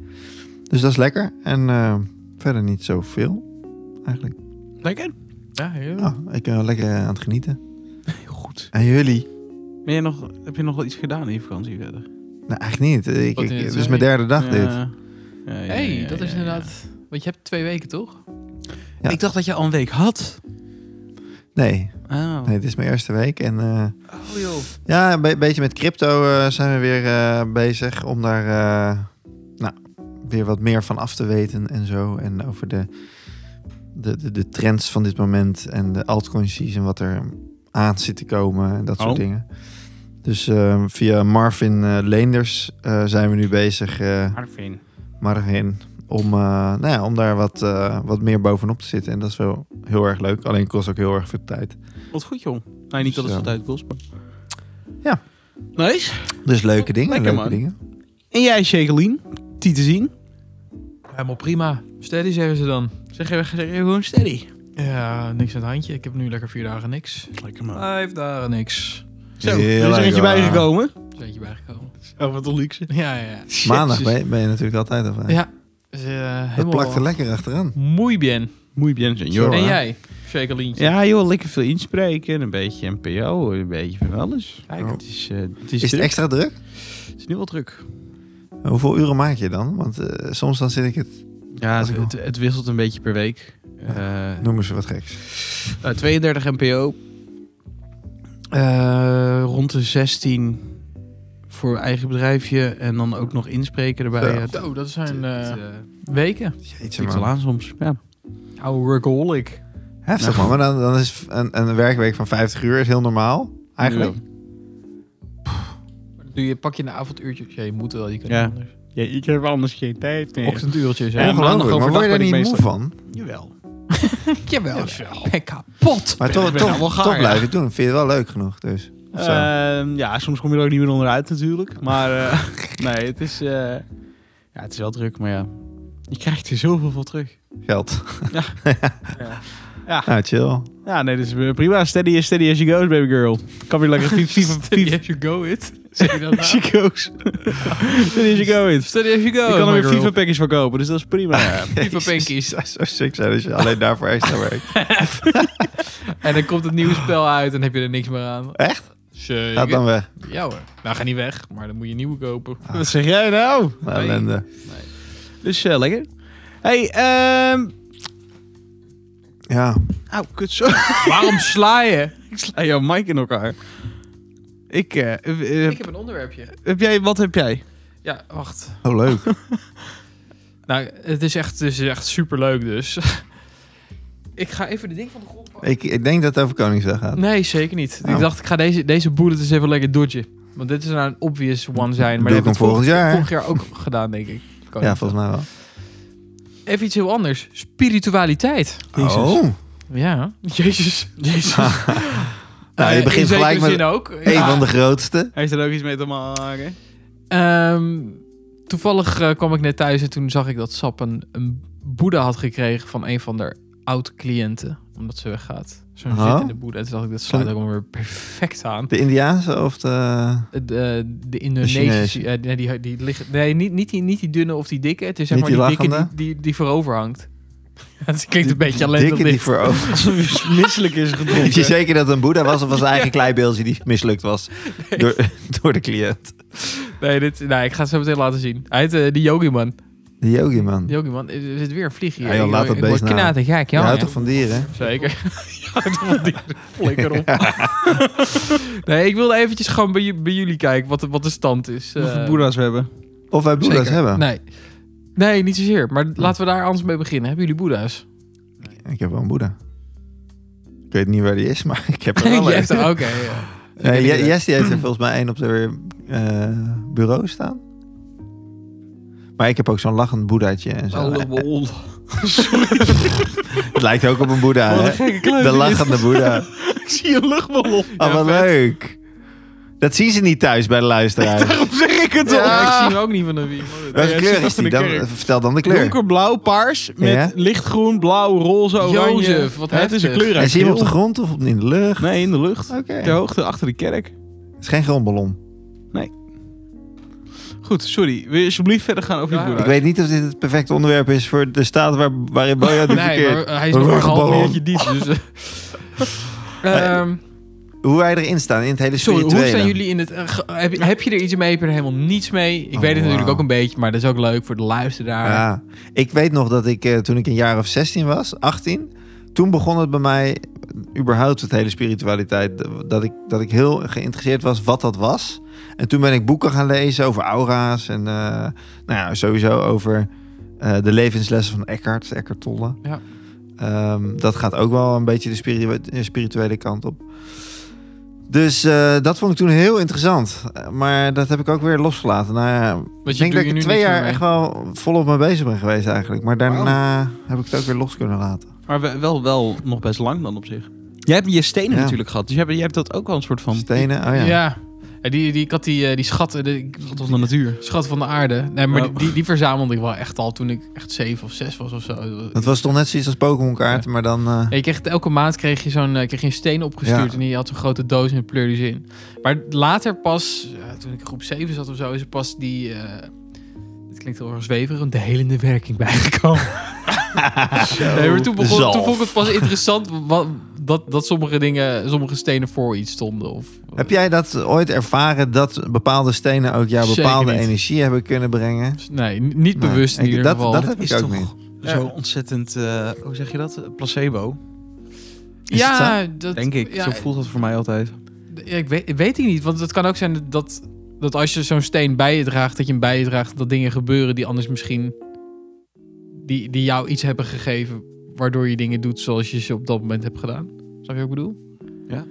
Speaker 3: Dus dat is lekker. En eh, verder niet zoveel, eigenlijk.
Speaker 1: Lekker.
Speaker 2: Ja, heel
Speaker 3: Ja, ik ben wel lekker eh, aan het genieten.
Speaker 1: Heel goed.
Speaker 3: En jullie?
Speaker 1: Ben je nog, heb je nog wel iets gedaan in je vakantie verder?
Speaker 3: Nou, eigenlijk niet. Ik,
Speaker 2: Wat
Speaker 3: ik-
Speaker 2: in het
Speaker 3: het is
Speaker 2: werk?
Speaker 3: mijn derde dag, dit.
Speaker 1: Ja, ja, ja,
Speaker 2: hey,
Speaker 1: ja,
Speaker 2: dat
Speaker 1: ja,
Speaker 2: is
Speaker 1: ja.
Speaker 2: inderdaad... Want je hebt twee weken, toch?
Speaker 3: Ja.
Speaker 1: Ik dacht dat je al een week had.
Speaker 3: Nee,
Speaker 1: Oh.
Speaker 3: nee, het is mijn eerste week. En eh,
Speaker 2: Oh, joh.
Speaker 3: ja, een be- beetje met crypto eh, zijn we weer eh, bezig. Om daar eh, nou, weer wat meer van af te weten en zo. En over de, de, de, de trends van dit moment. En de altcoins en wat er aan zit te komen. En dat soort
Speaker 1: Oh.
Speaker 3: dingen. Dus eh, via Marvin eh, Leenders eh, zijn we nu bezig, eh,
Speaker 1: Arvin.
Speaker 3: Marvin. Om, eh, nou ja, om daar wat, eh, wat meer bovenop te zitten. En dat is wel heel erg leuk. Alleen kost ook heel erg veel tijd.
Speaker 1: Wat goed, joh. Nee, niet dat het
Speaker 3: Zo.
Speaker 1: wat uit kost, maar...
Speaker 3: Ja.
Speaker 1: Nice.
Speaker 3: Dus leuke dingen,
Speaker 1: Lekker,
Speaker 3: leuke
Speaker 1: man.
Speaker 3: dingen.
Speaker 1: En jij, Shekelien? Die te zien?
Speaker 2: Helemaal prima. Steady, zeggen ze dan.
Speaker 1: Zeg je, zeg je gewoon steady.
Speaker 2: Ja, niks aan het handje. Ik heb nu lekker vier dagen niks.
Speaker 1: Lekker man.
Speaker 2: Vijf dagen niks.
Speaker 1: Eh, Zo,
Speaker 3: Heel
Speaker 1: er is er
Speaker 3: lekker,
Speaker 1: eentje
Speaker 3: man.
Speaker 1: bijgekomen.
Speaker 2: Centje bijgekomen.
Speaker 1: Oh, wat een luxe.
Speaker 2: <laughs> Ja, ja, ja.
Speaker 3: Maandag
Speaker 1: Jezus.
Speaker 3: ben je, ben je natuurlijk altijd af.
Speaker 2: Ja. Dus, eh,
Speaker 3: Het
Speaker 2: helemaal
Speaker 3: plakt er lekker achteraan.
Speaker 2: Muy bien.
Speaker 1: Muy bien,
Speaker 3: Zo,
Speaker 1: señor.
Speaker 2: en
Speaker 3: hè?
Speaker 2: jij, Shakelintje?
Speaker 1: Ja, joh, lekker veel inspreken. Een beetje NPO, een beetje van alles. Kijk,
Speaker 3: Oh.
Speaker 1: het is, eh, het is,
Speaker 3: Is het
Speaker 1: druk.
Speaker 3: extra druk?
Speaker 1: Het is nu wel druk.
Speaker 3: Hoeveel uren maak je dan? Want eh, soms dan zit ik het,
Speaker 1: Ja,
Speaker 3: Als
Speaker 1: het,
Speaker 3: ik
Speaker 1: het, het wisselt een beetje per week. Eh,
Speaker 3: noemen ze wat geks.
Speaker 1: eh, 32 NPO. Eh, rond de 16 voor eigen bedrijfje. En dan ook nog inspreken erbij.
Speaker 3: Zo.
Speaker 1: Ja, het-
Speaker 2: Zo, dat
Speaker 1: het,
Speaker 2: zijn eh,
Speaker 1: eh,
Speaker 2: weken.
Speaker 3: Jeetje
Speaker 1: tikt wel
Speaker 3: man.
Speaker 1: aan soms. Ja.
Speaker 2: Oude workaholic.
Speaker 3: Heftig man. Maar dan, dan is een, een werkweek van 50 uur is heel normaal. Eigenlijk.
Speaker 2: Doe je, pak je een avonduurtje. Ja, je moet wel, je kunt
Speaker 1: Ja.
Speaker 2: niet anders.
Speaker 1: Ja, ik heb anders geen tijd
Speaker 2: Ochtenduurtjes,
Speaker 1: Ja,
Speaker 2: hè?
Speaker 1: maandag
Speaker 3: Ongelooflijk. Maar
Speaker 1: overdag
Speaker 3: word je
Speaker 1: ben ik
Speaker 3: er niet moe
Speaker 1: meestal-
Speaker 3: van?
Speaker 1: Jawel.
Speaker 2: Jawel.
Speaker 1: Jawel.
Speaker 2: Ik ben kapot.
Speaker 3: Maar
Speaker 1: ben-
Speaker 3: toch,
Speaker 1: ik ben
Speaker 3: toch,
Speaker 1: nou wel gaar,
Speaker 3: toch
Speaker 1: ja.
Speaker 3: blijf je het doen. Vind je het wel leuk genoeg dus? Of zo?
Speaker 1: Ehm, ja, soms kom je er ook niet meer onderuit natuurlijk. Maar <laughs> eh, nee, het is, eh, ja, het is wel druk. Maar ja, je krijgt er zoveel voor terug.
Speaker 3: Geld.
Speaker 1: Ja. Ja.
Speaker 3: Nou, chill.
Speaker 1: Ja, nee, dat is eh, prima. Steady, steady as she goes, baby girl. Kan weer <laughs> lekker FIFA... FIFA
Speaker 2: Steady as you go it. Zeg je dat
Speaker 1: <laughs>
Speaker 2: nou?
Speaker 1: she goes. steady as she goes.
Speaker 2: Steady as you go.
Speaker 1: Ik kan er
Speaker 2: my
Speaker 1: weer
Speaker 2: girl.
Speaker 1: FIFA package van kopen, dus dat is <laughs> prima.
Speaker 2: FIFA
Speaker 3: <laughs>
Speaker 2: Pinkies.
Speaker 3: Jezus, Zou zo sick zijn als je alleen daarvoor
Speaker 1: <laughs>
Speaker 3: extra werkt.
Speaker 2: En dan komt het nieuwe spel uit en heb je er niks meer aan.
Speaker 3: Echt?
Speaker 2: Zeker.
Speaker 3: Gaat dan weg.
Speaker 2: Ja hoor. Nou, ga niet weg, maar dan moet je een nieuwe kopen.
Speaker 1: Wat zeg jij nou?
Speaker 3: Nou, ellende.
Speaker 1: Dus eh, lekker. hey, ehm...
Speaker 3: Ja.
Speaker 1: Auw, kut, <laughs> sorry.
Speaker 2: Waarom sla je?
Speaker 1: Ik sla jouw mic in elkaar. Ik, eh, eh,
Speaker 2: Ik heb een onderwerpje.
Speaker 1: heb jij, wat heb jij?
Speaker 2: Ja, wacht.
Speaker 3: Oh, leuk.
Speaker 2: Nou, het is echt, het is echt superleuk dus. <laughs> ik ga even de ding van de grond pakken.
Speaker 3: ik, ik denk dat het over Koningsdag gaat.
Speaker 2: Nee, zeker niet.
Speaker 3: Nou.
Speaker 2: Ik dacht, ik ga deze, deze bullet eens even lekker dodgen. Want dit is nou een obvious one zijn. Maar
Speaker 3: Doe ik hem
Speaker 2: dat heb ik
Speaker 3: volgend jaar, hè?
Speaker 2: Vorig jaar ook <laughs> gedaan, denk ik. Kan
Speaker 3: Ja,
Speaker 2: niet.
Speaker 3: volgens mij wel.
Speaker 2: Even iets heel anders. Spiritualiteit.
Speaker 1: Jezus.
Speaker 3: Oh. <laughs>
Speaker 2: Ja. Jezus. Jezus.
Speaker 3: Nou, je begint gelijk met
Speaker 2: Eh, zin ook.
Speaker 3: een
Speaker 2: Ja.
Speaker 3: van de grootste.
Speaker 1: Heeft er ook iets mee te maken?
Speaker 2: Ehm, toevallig eh, kwam ik net thuis en toen zag ik dat Sap een, een boeddha had gekregen van een van haar oud-cliënten. Omdat ze weggaat. Zo'n
Speaker 3: Oh.
Speaker 2: zit in de boeddha. En toen dacht ik, dat sluit ook allemaal weer perfect aan.
Speaker 3: De Indiaanse of de...
Speaker 2: De, de, Indonesische,
Speaker 3: Chinese.
Speaker 2: eh, nee, die, die liggen, nee niet, niet, die, niet die dunne of die dikke. Het is zeg
Speaker 3: Niet
Speaker 2: maar
Speaker 3: die
Speaker 2: die, dikke
Speaker 3: lachende?
Speaker 2: die, die, die voorover hangt. <laughs> Het klinkt een beetje alleen
Speaker 3: dikke
Speaker 2: dat
Speaker 3: die
Speaker 2: dit.
Speaker 3: voor
Speaker 2: <laughs>
Speaker 3: over.
Speaker 1: <laughs> Misselijk is <laughs> gedronken.
Speaker 3: Weet je zeker dat het een boeddha was of was het eigenlijk een kleibeeltje die mislukt was door, <laughs> door de cliënt?
Speaker 2: Nee, dit, nee, ik ga het zo meteen laten zien. Hij heet eh, die Yogi Man.
Speaker 3: De yogi man.
Speaker 2: Yogi Man, er er zit weer een vlieg hier.
Speaker 3: Hm. Ja, joh,
Speaker 2: Ik-
Speaker 3: laat
Speaker 2: ik
Speaker 3: dat
Speaker 2: word
Speaker 3: beest nou.
Speaker 2: knater, gek,
Speaker 3: Je
Speaker 2: ja.
Speaker 3: houdt
Speaker 2: ja.
Speaker 3: toch van dieren?
Speaker 2: Zeker. <laughs> ja, dan die flikker
Speaker 3: <laughs>
Speaker 2: op. nee, ik wilde eventjes gewoon bij, ju- bij jullie kijken wat de, wat de stand is.
Speaker 1: Hoeveel
Speaker 2: Eh,
Speaker 1: boeddha's we hebben.
Speaker 3: Of wij boeddha's
Speaker 2: zeker.
Speaker 3: hebben? Hm.
Speaker 2: Nee. nee, niet zozeer. Maar laten we daar anders mee beginnen. Hebben jullie
Speaker 3: <laughs>
Speaker 2: boeddha's?
Speaker 3: Ik heb wel een boeddha. Ik weet niet waar die is, maar <laughs> ik heb er wel
Speaker 2: <laughs> Je
Speaker 3: een.
Speaker 2: hebt er- Oké, ja.
Speaker 3: Nee, Je- Jess die Eh, heeft er volgens mij één op haar eh, bureau staan. Maar ik heb ook zo'n lachend boeddhaatje en
Speaker 2: Oh,
Speaker 3: zo. Eh, eh, Het lijkt ook op een boeddha,
Speaker 1: Wat een
Speaker 2: Oh,
Speaker 3: hè?
Speaker 1: gekke kluis
Speaker 2: <laughs>
Speaker 3: De
Speaker 1: is dit.
Speaker 3: lachende boeddha.
Speaker 1: <laughs> Ik zie een luchtballon. Ah,
Speaker 3: Oh, wat
Speaker 2: vet.
Speaker 3: leuk. Dat zien ze niet thuis bij de
Speaker 2: <laughs>
Speaker 3: luisteraar.
Speaker 1: Daarom zeg ik het
Speaker 3: Ja.
Speaker 1: al.
Speaker 2: Oh, Ik zie hem ook niet van een wie.
Speaker 1: Ja,
Speaker 3: Welke
Speaker 1: jij
Speaker 3: kleur
Speaker 1: zit
Speaker 3: is
Speaker 1: achter
Speaker 3: die?
Speaker 1: de
Speaker 3: Dan,
Speaker 1: kerk.
Speaker 3: vertel dan de kleur.
Speaker 1: Donkerblauw, paars met
Speaker 3: Ja.
Speaker 1: lichtgroen, blauw, roze, oranje.
Speaker 2: Jozef, wat
Speaker 1: Ja, Het is een
Speaker 2: heftig.
Speaker 1: kleurrijk
Speaker 3: En zie je hem op de
Speaker 1: geel.
Speaker 3: grond of op- in de lucht?
Speaker 1: Nee, in de lucht.
Speaker 3: Oké.
Speaker 1: Ter hoogte achter de kerk.
Speaker 3: Het is geen grondballon.
Speaker 1: Goed, sorry. Wil je alsjeblieft verder gaan over
Speaker 2: Ja.
Speaker 1: die
Speaker 3: Ik
Speaker 1: boeddha?
Speaker 3: weet niet of dit het perfecte onderwerp is voor de staat waar,
Speaker 1: <laughs>
Speaker 3: waarin Bojo nu
Speaker 2: Nee, maar
Speaker 3: verkeert.
Speaker 2: eh, hij is nog maar een half
Speaker 3: Luchtballon.
Speaker 2: meertje diep.
Speaker 3: <laughs>
Speaker 2: Dus, eh. Ehm,
Speaker 3: Hoe wij erin staan in het hele
Speaker 2: Sorry,
Speaker 3: spirituele.
Speaker 2: hoe staan jullie in het... eh, ge- heb, je- heb je er iets mee? Heb je er helemaal niets mee? Ik
Speaker 3: Oh,
Speaker 2: weet het natuurlijk
Speaker 3: wauw.
Speaker 2: ook een beetje, maar dat is ook leuk voor de luisteraar.
Speaker 3: Ja. Ik weet nog dat ik eh, toen ik een jaar of 16 was, 18, toen begon het bij mij eh, überhaupt het hele spiritualiteit. Dat ik, dat ik heel geïnteresseerd was wat dat was. En toen ben ik boeken gaan lezen over aura's en eh, nou ja, sowieso over eh, de levenslessen van Eckhart, Eckhart Tolle.
Speaker 2: Ja.
Speaker 3: Ehm, dat gaat ook wel een beetje de spiritu- eh, spirituele kant op. Dus eh, dat vond ik toen heel interessant. Eh, Maar dat heb ik ook weer losgelaten. Nou, ja,
Speaker 2: Want
Speaker 3: ik
Speaker 2: je
Speaker 3: denk
Speaker 2: doet
Speaker 3: dat
Speaker 2: je
Speaker 3: ik
Speaker 2: nu
Speaker 3: er twee
Speaker 2: niks meer
Speaker 3: jaar
Speaker 2: mee.
Speaker 3: echt wel volop mee bezig ben geweest eigenlijk. Maar daarna heb ik het ook weer los kunnen laten.
Speaker 1: Maar we- wel, wel nog best lang dan op zich. Jij hebt je stenen
Speaker 3: Ja.
Speaker 1: natuurlijk gehad. Dus jij hebt, jij hebt dat ook wel een soort van...
Speaker 3: Stenen, oh ja.
Speaker 2: Ja. Ja, die, die, ik had die, eh, die schat, eh, de, ik-
Speaker 1: God of de natuur.
Speaker 2: schat van de aarde. Nee, maar
Speaker 1: Oh.
Speaker 2: die, die, die verzamelde ik wel echt al toen ik echt zeven of zes was of zo.
Speaker 3: Dat was toch net zoiets als Pokémon kaarten, maar dan... eh,
Speaker 2: Ja, je kreeg, elke maand kreeg je, zo'n, eh, kreeg je een steen opgestuurd
Speaker 3: Ja.
Speaker 2: en je had zo'n grote doos en pleurde die ze in. Maar later pas, ja, toen ik in groep 7 zat of zo, is er pas die... eh dit klinkt heel erg zweverig, want de helende werking <laughs> bijgekomen. nee, maar toen, begon,
Speaker 3: Zalf.
Speaker 2: toen vond ik het pas interessant wat, dat, dat sommige dingen, sommige stenen voor iets stonden. Of,
Speaker 3: Heb jij dat ooit ervaren, dat bepaalde stenen ook jouw
Speaker 2: Zeker
Speaker 3: bepaalde
Speaker 2: niet.
Speaker 3: energie hebben kunnen brengen?
Speaker 2: Nee, n- niet
Speaker 3: Nee.
Speaker 2: bewust in
Speaker 3: Ik-
Speaker 2: ieder
Speaker 3: dat,
Speaker 2: geval.
Speaker 3: Dat heb
Speaker 1: is
Speaker 3: ik ook
Speaker 1: toch-
Speaker 3: niet.
Speaker 2: Ja.
Speaker 1: Zo ontzettend... eh, hoe zeg je dat? Placebo.
Speaker 3: is
Speaker 2: ja, dat,
Speaker 1: Denk ik.
Speaker 2: ja,
Speaker 1: Zo voelt dat voor mij altijd.
Speaker 2: Ja, ik weet, weet ik niet, want het kan ook zijn dat, dat als je zo'n steen bij je draagt, dat je hem bij je draagt, dat dingen gebeuren die anders misschien, die, die jou iets hebben gegeven, waardoor je dingen doet zoals je ze op dat moment hebt gedaan. Snap je wat ik bedoel?
Speaker 1: Ja.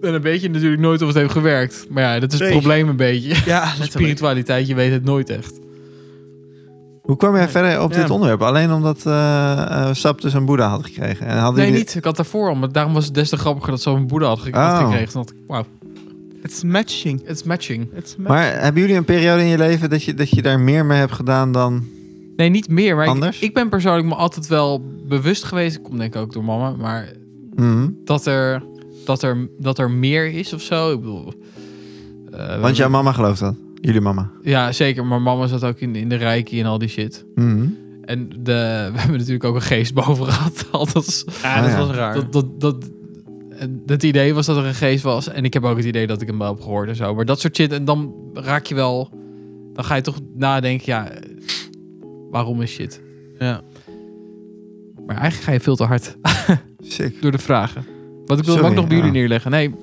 Speaker 2: En dan weet je natuurlijk nooit of het heeft gewerkt. Maar ja, dat is het
Speaker 1: Nee.
Speaker 2: probleem een beetje. <laughs>
Speaker 1: <laughs> Ja,
Speaker 2: Spiritualiteit, je weet het nooit echt.
Speaker 3: Hoe kwam jij verder op
Speaker 1: Ja.
Speaker 3: dit onderwerp? Alleen omdat eh, eh, Sap dus een boeddha had gekregen. En hadden
Speaker 2: Nee,
Speaker 3: jullie-
Speaker 2: niet. Ik had daarvoor al, maar daarom was het des te grappiger dat zo'n boeddha had, ge- had
Speaker 3: Oh.
Speaker 2: gekregen. Toen dacht ik, wauw,
Speaker 1: It's matching.
Speaker 2: it's matching.
Speaker 1: It's matching.
Speaker 3: Maar hebben jullie een periode in je leven dat je, dat je daar meer mee hebt gedaan dan...
Speaker 2: Nee, niet meer. Maar ik,
Speaker 3: Anders?
Speaker 2: ik ben persoonlijk me altijd wel bewust geweest. Ik kom denk ik ook door mama. Maar
Speaker 3: Mhm.
Speaker 2: dat er, dat er, dat er meer is of zo. Ik bedoel... eh,
Speaker 3: Want jouw mama gelooft dat. Jullie mama.
Speaker 2: Ja, zeker. Maar mama zat ook in, in de reiki en al die shit.
Speaker 3: Mhm.
Speaker 2: En de, <laughs> we hebben natuurlijk ook een geest boven gehad. <laughs> Althans,
Speaker 1: Ja, dat
Speaker 3: Ah, ja.
Speaker 1: was raar.
Speaker 2: dat, dat, dat, en het idee was dat er een geest was. En ik heb ook het idee dat ik hem wel heb gehoord en zo. Maar dat soort shit. En dan raak je wel... Dan ga je toch nadenken, ja... waarom is shit.
Speaker 1: Ja.
Speaker 2: Maar eigenlijk ga je veel te hard
Speaker 3: Sick.
Speaker 2: door de vragen. Wat ik wil
Speaker 3: Sorry,
Speaker 2: ook nog bij
Speaker 3: ja.
Speaker 2: jullie neerleggen. Nee.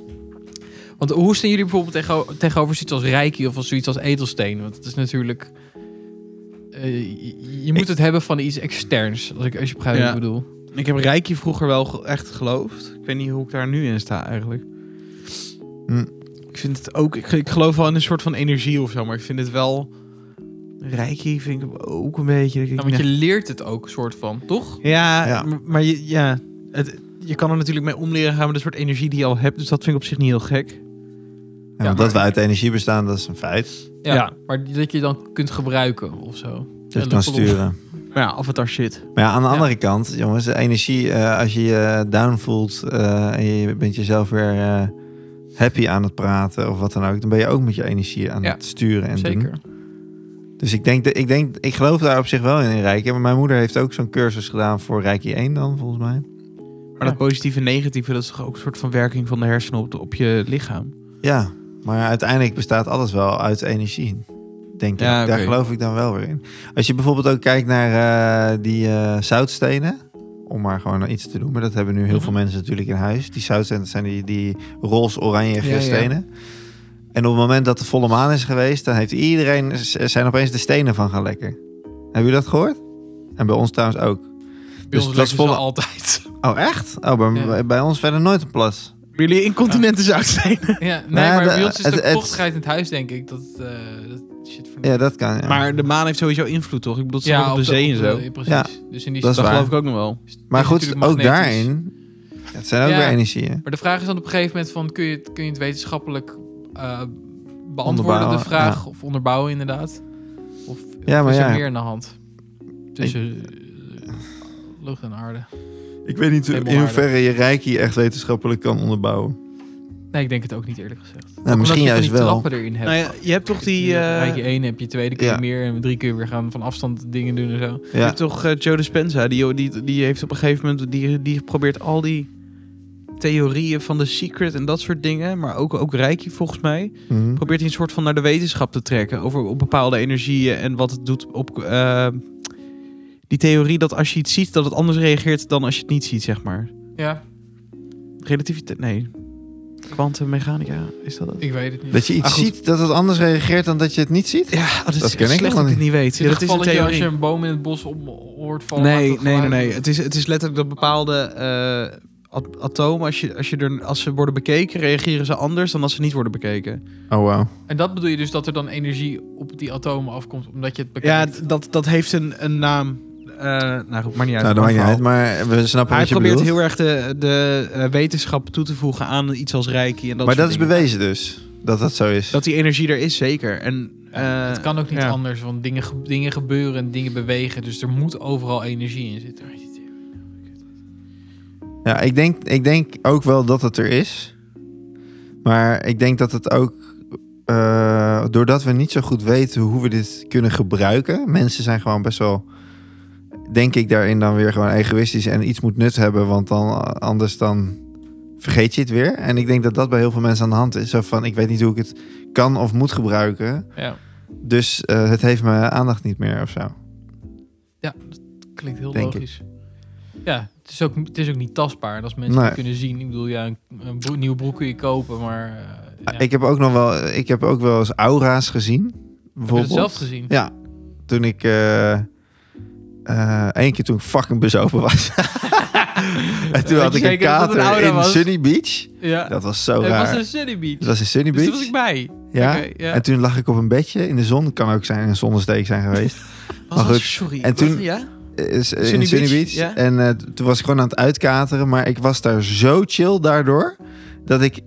Speaker 2: Want hoe staan jullie bijvoorbeeld tegen, tegenover zoiets als reiki of als zoiets als edelsteen? Want het is natuurlijk... eh, je, je moet het hebben van iets externs, als, ik, als je begrijpt wat
Speaker 1: Ja.
Speaker 2: ik bedoel.
Speaker 1: Ik heb Reiki vroeger wel ge- echt geloofd. Ik weet niet hoe ik daar nu in sta eigenlijk.
Speaker 3: Hm.
Speaker 1: Ik vind het ook... Ik, ik geloof wel in een soort van energie of zo, maar ik vind het wel... Reiki vind ik ook een beetje... dat ik
Speaker 2: Ja,
Speaker 1: denk,
Speaker 2: want je leert het ook, soort van, toch?
Speaker 1: Ja,
Speaker 3: Ja.
Speaker 1: m- maar je, ja, het, je kan er natuurlijk mee omleren gaan met een soort energie die je al hebt. Dus dat vind ik op zich niet heel gek.
Speaker 3: Ja, want dat we uit energie bestaan, dat is een feit.
Speaker 2: Ja.
Speaker 1: Ja.
Speaker 2: Maar dat je dan kunt gebruiken of zo.
Speaker 3: Dus
Speaker 2: Ja,
Speaker 3: kan
Speaker 2: dat klopt.
Speaker 3: sturen.
Speaker 1: Maar ja, avatar shit.
Speaker 3: Maar ja, aan de
Speaker 2: Ja.
Speaker 3: andere kant, jongens, de energie, eh, als je je down voelt eh, en je bent jezelf weer eh, happy aan het praten of wat dan ook, dan ben je ook met je energie aan
Speaker 2: Ja.
Speaker 3: het sturen en doen.
Speaker 2: Zeker.
Speaker 3: Dus ik denk, dat- ik denk, ik geloof daar op zich wel in, in Reiki. Maar mijn moeder heeft ook zo'n cursus gedaan voor Reiki 1 dan, volgens mij.
Speaker 1: Maar dat positieve en negatieve, dat is toch ook een soort van werking van de hersenen op, de- op je lichaam.
Speaker 3: Ja, maar uiteindelijk bestaat alles wel uit energie. Denk
Speaker 1: Ja,
Speaker 3: ik.
Speaker 1: oké.
Speaker 3: Daar geloof ik dan wel weer in. Als je bijvoorbeeld ook kijkt naar eh, die eh, zoutstenen. Om maar gewoon iets te noemen. Dat hebben nu heel
Speaker 2: Mhm.
Speaker 3: veel mensen natuurlijk in huis. Die zoutstenen dat zijn die, die roze-oranje
Speaker 2: Ja, ja.
Speaker 3: stenen. En op het moment dat de volle maan is geweest, dan heeft iedereen z- zijn opeens de stenen van gaan lekker. Hebben jullie dat gehoord? En bij ons trouwens ook.
Speaker 2: Bij
Speaker 3: Dus
Speaker 2: ons
Speaker 3: dat
Speaker 2: dat
Speaker 3: is
Speaker 2: ze
Speaker 3: volle- <laughs>
Speaker 2: altijd.
Speaker 3: Oh, echt? Oh, bij,
Speaker 2: Ja.
Speaker 3: bij ons verder nooit een plas.
Speaker 1: Jullie incontinenten zoutstenen.
Speaker 2: Ja, nee,
Speaker 3: Nou ja,
Speaker 2: maar
Speaker 3: de-
Speaker 2: bij ons is
Speaker 3: het-
Speaker 2: de
Speaker 3: het-
Speaker 2: vochtigheid in het huis, denk ik. Dat, eh, dat shit van...
Speaker 3: Ja, dat kan. Ja.
Speaker 1: Maar de maan heeft sowieso invloed, toch? Ik bedoel, het staat op de, zee en zo.
Speaker 2: ja, precies.
Speaker 3: Ja,
Speaker 2: Dus in
Speaker 3: dat
Speaker 2: die
Speaker 1: dat
Speaker 3: is waar.
Speaker 1: geloof ik ook nog wel.
Speaker 3: Maar
Speaker 2: is
Speaker 3: goed,
Speaker 2: natuurlijk
Speaker 3: ook
Speaker 2: magnetisch.
Speaker 3: daarin. Het zijn ook
Speaker 2: Ja.
Speaker 3: weer energieën.
Speaker 2: Maar de vraag is dan op een gegeven moment van... kun je, het- kun je het wetenschappelijk eh, beantwoorden,
Speaker 3: Onderbouwen,
Speaker 2: de vraag? Of onderbouwen, inderdaad? Of,
Speaker 3: Ja,
Speaker 2: of
Speaker 3: maar
Speaker 2: is er
Speaker 3: ja.
Speaker 2: meer aan de hand? Tussen eh, lucht en aarde.
Speaker 3: Ik weet niet eh,
Speaker 2: Helemaal in hoeverre
Speaker 3: je Reiki echt wetenschappelijk kan onderbouwen.
Speaker 2: Nee, ik denk het ook niet, eerlijk gezegd.
Speaker 3: Nou, misschien
Speaker 2: Omdat
Speaker 3: juist
Speaker 2: je van die
Speaker 3: wel.
Speaker 2: trappen erin hebt.
Speaker 1: Nou ja, je hebt toch die... eh,
Speaker 2: Rijk je één, heb je tweede keer
Speaker 3: ja.
Speaker 2: meer en drie keer weer gaan van afstand dingen doen en zo.
Speaker 1: Je
Speaker 3: Ja.
Speaker 1: hebt toch eh, Joe Dispenza, die, die, die heeft op een gegeven moment, die, die probeert al die theorieën van The Secret en dat soort dingen, maar ook, ook Reiki volgens mij,
Speaker 3: Mhm.
Speaker 1: probeert hij een soort van naar de wetenschap te trekken over op bepaalde energieën en wat het doet op eh, die theorie dat als je iets ziet, dat het anders reageert dan als je het niet ziet, zeg maar.
Speaker 2: Ja,
Speaker 1: Relativiteit, nee. Kwantummechanica, is dat het?
Speaker 2: ik weet het niet.
Speaker 3: Dat je iets
Speaker 1: Ah, goed.
Speaker 3: ziet dat het anders reageert dan dat je het niet ziet?
Speaker 1: Ja, oh, dat,
Speaker 3: ken
Speaker 1: is echt
Speaker 3: ik nog
Speaker 1: slecht dat ik
Speaker 3: niet.
Speaker 1: het niet weet.
Speaker 2: Is
Speaker 1: Ja,
Speaker 2: het
Speaker 1: dat is een
Speaker 2: geval dat je als
Speaker 1: theorie.
Speaker 2: je een boom in het bos op hoort vallen? maakt
Speaker 1: Nee,
Speaker 2: dat
Speaker 1: nee, nee,
Speaker 2: geluid?
Speaker 1: nee. Het is, het is letterlijk dat bepaalde eh, at- atomen, als, je, als, je er, als ze worden bekeken, reageren ze anders dan als ze niet worden bekeken.
Speaker 3: Oh, wow.
Speaker 2: En dat bedoel je dus dat er dan energie op die atomen afkomt omdat je het
Speaker 1: Ja,
Speaker 2: bekijkt?
Speaker 1: d- dat, dat heeft een, een naam. Eh, nou goed, maar niet uit.
Speaker 3: Nou, dat maakt niet
Speaker 1: Maar
Speaker 3: uit, maar we snappen
Speaker 1: Hij
Speaker 3: wat je
Speaker 1: probeert
Speaker 3: bedoelt.
Speaker 1: heel erg de, de eh, wetenschap toe te voegen aan iets als reiki. En dat
Speaker 3: maar dat
Speaker 1: soort
Speaker 3: is
Speaker 1: dingen.
Speaker 3: bewezen dus, dat dat zo is.
Speaker 1: Dat die energie er is, zeker. En, eh,
Speaker 2: het kan ook niet
Speaker 1: ja.
Speaker 2: anders, want dingen, ge- dingen gebeuren en dingen bewegen. Dus er moet overal energie in zitten.
Speaker 3: Ja, ik denk, ik denk ook wel dat het er is. Maar ik denk dat het ook... eh, doordat we niet zo goed weten hoe we dit kunnen gebruiken... Mensen zijn gewoon best wel... Denk ik daarin dan weer gewoon egoïstisch en iets moet nut hebben. Want dan, eh, anders dan vergeet je het weer. En ik denk dat dat bij heel veel mensen aan de hand is. Zo van, ik weet niet hoe ik het kan of moet gebruiken.
Speaker 2: Ja,
Speaker 3: Dus eh, het heeft mijn aandacht niet meer of zo.
Speaker 2: ja dat klinkt heel
Speaker 3: Denk ik.
Speaker 2: logisch. Ja, het is, ook, het is ook niet tastbaar. En als mensen
Speaker 3: Nee.
Speaker 2: het kunnen zien, ik bedoel, ja, een, een broek- nieuwe broek kun je kopen, maar... eh, ja.
Speaker 3: Ah, Ik heb ook nog wel, ik heb ook wel eens aura's gezien.
Speaker 2: Heb je
Speaker 3: Bijvoorbeeld.
Speaker 2: het zelf gezien?
Speaker 3: <laughs>
Speaker 2: <laughs>
Speaker 3: Ja, toen ik... eh eh, één keer toen ik fucking bezopen
Speaker 2: <laughs>
Speaker 3: was. en toen had
Speaker 2: Weet je
Speaker 3: ik een
Speaker 2: zeker dat het een
Speaker 3: kater
Speaker 2: oude
Speaker 3: in
Speaker 2: was?
Speaker 3: Sunny Beach.
Speaker 2: Ja.
Speaker 3: Dat was zo
Speaker 2: Het
Speaker 3: raar.
Speaker 2: was een Sunny Beach.
Speaker 3: Dat was in Sunny
Speaker 2: Dus
Speaker 3: Beach.
Speaker 2: daar was ik bij.
Speaker 3: ja.
Speaker 2: Oké, ja.
Speaker 3: En toen lag ik op een bedje in de zon. Kan ook zijn een zonnesteek zijn
Speaker 2: <laughs>
Speaker 3: geweest.
Speaker 1: Was
Speaker 3: goed.
Speaker 1: Sorry.
Speaker 3: En toen-
Speaker 1: wat? ja?
Speaker 3: Eh, is- eh,
Speaker 1: Sunny
Speaker 3: in Sunny
Speaker 1: Beach, ja.
Speaker 3: Beach. En eh, t- toen was ik gewoon aan het uitkateren. Maar ik was daar zo chill daardoor. Dat ik,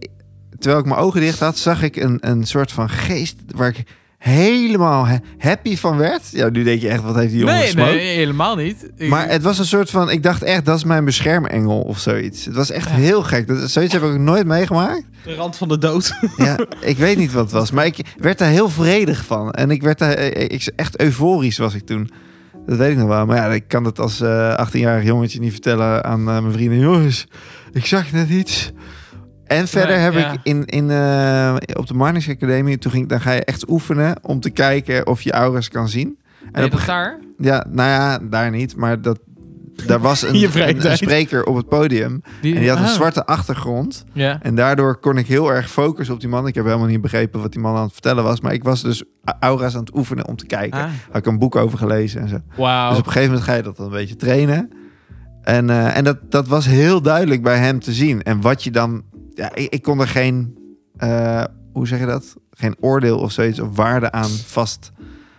Speaker 3: terwijl ik mijn ogen dicht had, zag ik een, een soort van geest waar ik helemaal ha- happy van werd. Ja, nu denk je echt, wat heeft die jongen
Speaker 2: Nee,
Speaker 3: gesmokt?
Speaker 2: nee, helemaal niet. Ik-
Speaker 3: Maar het was een soort van, ik dacht echt, dat is mijn beschermengel of zoiets. Het was echt
Speaker 2: Ja.
Speaker 3: heel gek. Dat, zoiets heb ik ook nooit
Speaker 2: <laughs>
Speaker 3: meegemaakt.
Speaker 1: De rand van de dood.
Speaker 3: Ja, ik weet niet wat het was, maar ik werd daar heel vredig van. En ik werd daar, eh, ik, echt euforisch was ik toen. Dat weet ik nog wel. Maar ja, ik kan dat als eh 18-jarig jongetje niet vertellen aan eh, mijn vrienden. Jongens, ik zag net iets. En verder
Speaker 2: Nee,
Speaker 3: heb
Speaker 2: ja.
Speaker 3: ik in, in, eh, op de Marnix Academie, toen ging, ik- dan ga je echt oefenen om te kijken of je auras kan zien. En op
Speaker 2: dat daar?
Speaker 3: Ja, nou ja, daar niet. Maar dat, daar
Speaker 1: <laughs>
Speaker 3: was
Speaker 1: Je
Speaker 3: een,
Speaker 1: vrije
Speaker 3: een- een
Speaker 1: tijd.
Speaker 3: spreker op het podium. En die had een
Speaker 2: ah.
Speaker 3: zwarte achtergrond.
Speaker 2: Ja.
Speaker 3: En daardoor kon ik heel erg focussen op die man. Ik heb helemaal niet begrepen wat die man aan het vertellen was. Maar ik was dus a- aura's aan het oefenen om te kijken.
Speaker 2: Ah.
Speaker 3: Had ik een boek over gelezen en zo.
Speaker 1: Oh.
Speaker 2: Wauw.
Speaker 3: Dus op een gegeven moment ga je dat dan een beetje trainen. En, eh, en dat, dat was heel duidelijk bij hem te zien. En wat je dan... Ja, ik, ik kon er geen... eh, hoe zeg je dat? Geen oordeel of zoiets of waarde aan vast.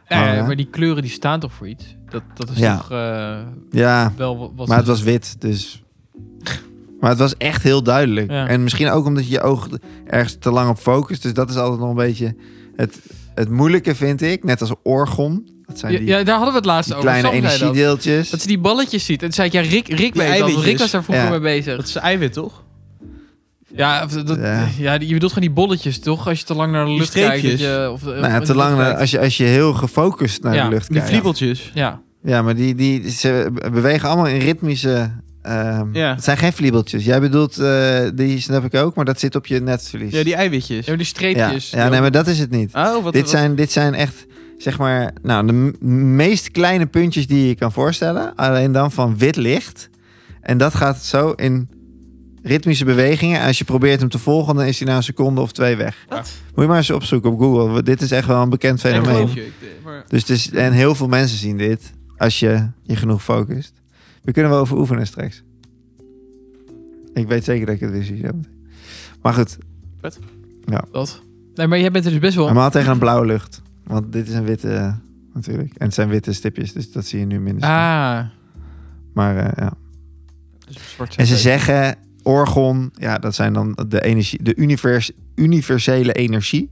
Speaker 2: Nou ja,
Speaker 3: Ah, ja.
Speaker 2: maar die kleuren die staan toch voor iets? Dat, dat is
Speaker 3: Ja.
Speaker 2: toch eh,
Speaker 3: Ja,
Speaker 2: wel wat... wat
Speaker 3: maar het was wit, dus... Maar het was echt heel duidelijk.
Speaker 2: Ja.
Speaker 3: En misschien ook omdat je je oog ergens te lang op focust. Dus dat is altijd nog een beetje het, het moeilijke, vind ik. Net als orgon. Dat zijn
Speaker 2: Ja,
Speaker 3: die,
Speaker 2: ja, daar hadden we het laatst
Speaker 3: die
Speaker 2: over. Sam
Speaker 3: kleine
Speaker 2: zei dat.
Speaker 3: energiedeeltjes.
Speaker 2: Dat ze die balletjes ziet. En toen zei ik, ja, Rick, Rick weet dat. want
Speaker 1: eiwitjes.
Speaker 2: Rick was daar vroeger
Speaker 3: Ja.
Speaker 2: mee bezig.
Speaker 1: <laughs> Dat is eiwit, toch?
Speaker 2: Ja, of dat,
Speaker 3: Ja.
Speaker 2: ja. die- je bedoelt gewoon die bolletjes, toch? Als je te lang naar de
Speaker 1: Die
Speaker 2: lucht kijkt. dat
Speaker 1: streepjes.
Speaker 2: je- of, of-
Speaker 3: nou, ja,
Speaker 2: of-
Speaker 3: te lang, eh, als je, als je heel gefocust naar
Speaker 2: Ja,
Speaker 3: de lucht
Speaker 1: Die
Speaker 3: kijkt.
Speaker 1: vliebeltjes.
Speaker 2: Ja.
Speaker 3: Ja, maar die, die, ze bewegen allemaal in ritmische... ehm,
Speaker 1: Ja.
Speaker 3: Het zijn geen vliebeltjes. Jij bedoelt, eh, die snap ik ook, maar dat zit op je netverlies.
Speaker 1: Ja, die eiwitjes.
Speaker 2: Ja, maar die streepjes.
Speaker 3: ja, ja nee, maar dat is het niet.
Speaker 1: Oh, wat
Speaker 3: dit, zijn, dit zijn echt, zeg maar, nou, de m- meest kleine puntjes die je kan voorstellen. Alleen dan van wit licht. En dat gaat zo in ritmische bewegingen. Als je probeert hem te volgen, dan is hij na een seconde of twee weg.
Speaker 2: Wat?
Speaker 3: Moet je maar eens opzoeken op Google. Dit is echt wel een bekend
Speaker 2: Ja, ik
Speaker 3: fenomeen.
Speaker 2: geloof je.
Speaker 1: eh,
Speaker 2: Ik- maar-
Speaker 3: Dus het is, en heel veel mensen zien dit als je je genoeg focust. We kunnen wel over oefenen straks. Ik weet zeker dat ik het weer zie. zo meteen. Maar goed,
Speaker 2: Wat? Nee, maar jij bent er dus best wel...
Speaker 3: normaal tegen een blauwe lucht. Want dit is een witte, eh, natuurlijk. En het zijn witte stipjes, dus dat zie je nu minder. snel.
Speaker 2: Ah.
Speaker 3: Maar eh, ja.
Speaker 2: Dus op zwart
Speaker 3: En ze
Speaker 2: zijn
Speaker 3: zeggen, orgon, ja, dat zijn dan de, energie, de univers, universele energie.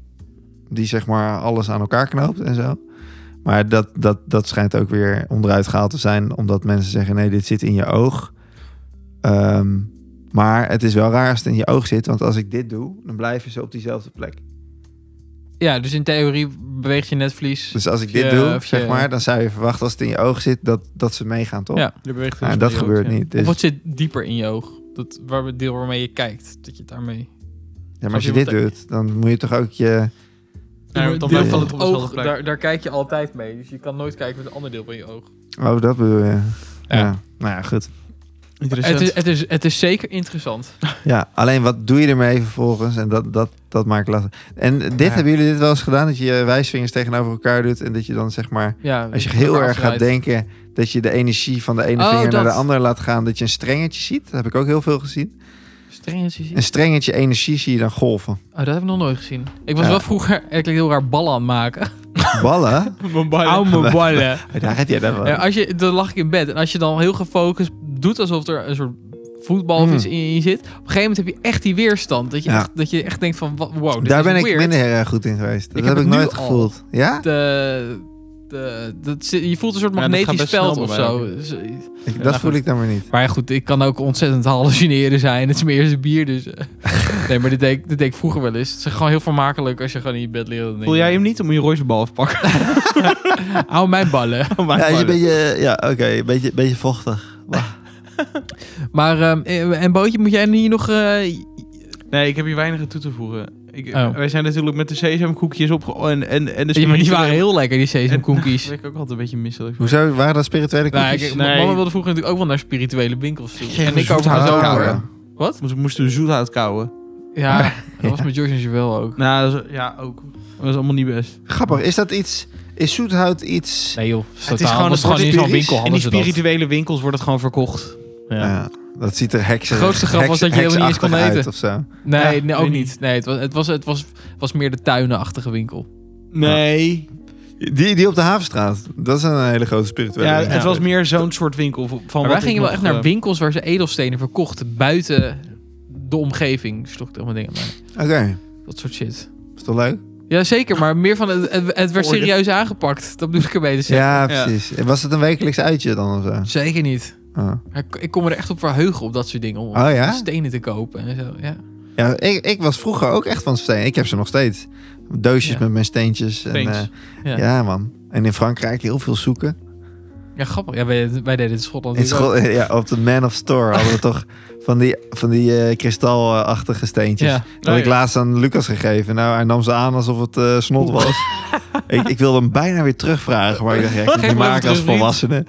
Speaker 3: Die zeg maar alles aan elkaar knoopt en zo. Maar dat, dat, dat schijnt ook weer onderuit gehaald te zijn. Omdat mensen zeggen, nee, dit zit in je oog. Ehm, maar het is wel raar als het in je oog zit. Want als ik dit doe, dan blijven ze op diezelfde plek.
Speaker 2: Ja, dus in theorie beweegt je netvlies.
Speaker 3: Dus als ik
Speaker 2: Ja,
Speaker 3: dit doe,
Speaker 2: of je-
Speaker 3: zeg maar, dan zou je verwachten als het in je oog zit, dat, dat ze meegaan, toch?
Speaker 2: Ja.
Speaker 1: Je beweegt
Speaker 3: Nou,
Speaker 1: dus
Speaker 3: dat
Speaker 1: die ook,
Speaker 3: gebeurt
Speaker 1: ja.
Speaker 3: niet.
Speaker 2: Of
Speaker 3: Dus,
Speaker 2: wat zit dieper in je oog? Dat waar het deel waarmee je kijkt. Dat je het daarmee.
Speaker 3: ja, maar als je
Speaker 2: iemand
Speaker 3: dit doet, dan moet je toch ook je...
Speaker 1: Ja, want dan
Speaker 2: deel
Speaker 1: blijft
Speaker 2: van
Speaker 1: het op
Speaker 2: het
Speaker 1: dezelfde
Speaker 2: oog,
Speaker 1: plek.
Speaker 2: daar, daar kijk je altijd mee. Dus je kan nooit kijken met een ander deel van je oog.
Speaker 3: Oh, dat bedoel je.
Speaker 2: Ja.
Speaker 3: ja. Nou ja, goed.
Speaker 1: Interessant.
Speaker 2: Dus Het is, het, is, het is zeker interessant.
Speaker 3: Ja, alleen wat doe je ermee vervolgens? En dat, dat, dat maakt lastig. En dit
Speaker 2: Ja.
Speaker 3: hebben jullie dit wel eens gedaan? Dat je je wijsvingers tegenover elkaar doet en dat je dan zeg maar...
Speaker 2: Ja,
Speaker 3: Als je heel erg gaat denken dat je de energie van de ene
Speaker 2: Oh,
Speaker 3: vinger naar de
Speaker 2: dat.
Speaker 3: andere laat gaan, dat je een strengetje ziet. Dat heb ik ook heel veel gezien. Een
Speaker 2: denken.
Speaker 3: strengetje energie zie je dan
Speaker 2: <laughs>
Speaker 3: golven.
Speaker 2: Oh, dat heb ik nog nooit gezien. Ik was
Speaker 3: Ja.
Speaker 2: wel vroeger <laughs> eigenlijk heel raar ballen aan het maken.
Speaker 3: Ballen?
Speaker 2: Oude
Speaker 3: <laughs>
Speaker 2: <laughs> ballen.
Speaker 3: Daar heb je dat wel.
Speaker 2: Ja, als je, dan lag ik in bed. En als je dan heel gefocust doet alsof er een soort voetbal of
Speaker 3: Hmm.
Speaker 2: iets in je zit. Op een gegeven moment heb je echt die weerstand. Dat je,
Speaker 3: Ja.
Speaker 2: echt, dat je echt denkt van, wa- wow, Oh, dit
Speaker 3: Daar
Speaker 2: is
Speaker 3: ben ik
Speaker 2: weird.
Speaker 3: minder eh, goed in geweest. Dat
Speaker 2: Ik
Speaker 3: heb
Speaker 2: heb
Speaker 3: ik
Speaker 2: het nu
Speaker 3: nooit
Speaker 2: al.
Speaker 3: gevoeld. Ja?
Speaker 2: De, de, dat zit- je voelt een soort
Speaker 1: Ja, dat gaat
Speaker 2: magnetisch
Speaker 1: best
Speaker 2: veld
Speaker 1: snel
Speaker 2: of
Speaker 1: bij
Speaker 2: zo.
Speaker 1: mij
Speaker 2: Dus, eh,
Speaker 3: Ik- dat
Speaker 2: nou
Speaker 3: voel
Speaker 2: goed.
Speaker 3: ik dan weer niet.
Speaker 2: Maar ja, goed, ik kan ook ontzettend hallucineren zijn. Het is mijn eerste bier,
Speaker 1: <laughs>
Speaker 2: dus... eh. nee, maar dit deed, ik- dit deed ik vroeger wel eens. Het is gewoon heel vermakelijk als je gewoon in je bed ligt.
Speaker 1: Voel jij hem niet? Dan moet je Royce bal afpakken. <laughs>
Speaker 2: Hou mijn ballen.
Speaker 3: Ja, je bent je, ja oké, een beetje, beetje vochtig.
Speaker 2: Maar, ehm, eh, en Bootje, moet jij hier nog... eh,
Speaker 1: Nee, ik heb hier weinig aan toe te voegen. Ik,
Speaker 2: Oh.
Speaker 1: Wij zijn natuurlijk met de sesamkoekjes opge... oh, En, en, en de
Speaker 2: ja, maar die waren
Speaker 1: spirituele-
Speaker 2: heel lekker, die
Speaker 1: <laughs> Daar
Speaker 2: sesamkoekjes.
Speaker 1: ben ik ook altijd een beetje misselijk van.
Speaker 3: Hoezo waren dat spirituele
Speaker 2: Nou,
Speaker 3: koekjes?
Speaker 2: ik,
Speaker 1: Nee.
Speaker 2: Mama wilde vroeger natuurlijk ook wel naar spirituele winkels toe.
Speaker 1: Ja,
Speaker 2: en
Speaker 1: maar
Speaker 2: ik
Speaker 1: ze
Speaker 2: ook
Speaker 1: moeten
Speaker 2: zo
Speaker 1: houden.
Speaker 2: hoor.
Speaker 3: Ja.
Speaker 2: Wat?
Speaker 1: We moesten zoet uitkouwen.
Speaker 2: Ja, dat was met George en Joël ook.
Speaker 1: Nou, dat is- ja, ook. Dat is allemaal niet best.
Speaker 3: Grappig, is dat iets... Is zoethout iets...
Speaker 2: Nee joh,
Speaker 1: is gewoon
Speaker 2: dat
Speaker 1: een
Speaker 2: was gewoon in zo'n
Speaker 3: spiritus.
Speaker 2: winkel
Speaker 1: In
Speaker 2: hadden
Speaker 1: die
Speaker 2: ze dat.
Speaker 1: spirituele winkels wordt het gewoon verkocht.
Speaker 3: Ja. dat ziet er heksen.
Speaker 2: De grootste grap
Speaker 3: heks-
Speaker 2: was dat je helemaal niet eens kon
Speaker 3: heksachtig
Speaker 2: eten.
Speaker 3: Uit, of zo.
Speaker 2: Nee,
Speaker 1: Ja,
Speaker 2: nee ook
Speaker 1: weet niet.
Speaker 2: niet. Nee, het was, het was, het was, was meer de tuinenachtige winkel.
Speaker 1: Nee.
Speaker 3: Die, die op de Havenstraat. Dat is een hele grote spirituele.
Speaker 1: Ja,
Speaker 3: winkel.
Speaker 1: het was meer zo'n soort winkel. Van wat
Speaker 2: maar wij
Speaker 1: ik
Speaker 2: gingen
Speaker 1: nog,
Speaker 2: wel echt naar
Speaker 1: eh, <laughs>
Speaker 2: winkels waar ze edelstenen verkochten buiten de omgeving. Sloeg ik allemaal dingen mee.
Speaker 3: Oké,
Speaker 2: Dat soort shit.
Speaker 3: is toch leuk?
Speaker 2: Ja, zeker, maar meer van het, het, het werd
Speaker 1: Orde.
Speaker 2: serieus aangepakt. Dat bedoel ik ermee te zeggen.
Speaker 3: Ja,
Speaker 1: Ja.
Speaker 3: precies. En Was het een wekelijks uitje dan of zo?
Speaker 2: Zeker niet.
Speaker 3: Oh,
Speaker 2: Maar Ik, ik kon me er echt op verheugen op dat soort dingen. Om
Speaker 3: Oh ja?
Speaker 2: stenen te kopen en zo. Ja.
Speaker 3: Ja, ik, ik was vroeger ook echt van steen. Ik heb ze nog steeds. Doosjes
Speaker 2: Ja.
Speaker 3: met mijn steentjes. En,
Speaker 1: Steens.
Speaker 3: eh,
Speaker 2: Ja.
Speaker 3: ja. man. En in Frankrijk heel veel zoeken.
Speaker 2: ja, grappig. Ja, wij, wij deden het in Schotland.
Speaker 3: In
Speaker 2: natuurlijk ook.
Speaker 3: Schot- <laughs> ja, op de Man of Store hadden
Speaker 2: <laughs>
Speaker 3: we toch van die, van die eh, kristalachtige steentjes.
Speaker 2: Ja.
Speaker 3: Dat had
Speaker 1: Oh,
Speaker 3: ik
Speaker 1: ja.
Speaker 2: <laughs>
Speaker 3: laatst aan Lucas gegeven. Nou, hij nam ze aan alsof het eh, snot was. Ik, ik wilde hem bijna weer terugvragen, maar ik dacht, ja, ik moet
Speaker 2: Geef
Speaker 3: die
Speaker 2: maar
Speaker 3: maken
Speaker 2: terug,
Speaker 3: als
Speaker 2: vriend.
Speaker 3: volwassene.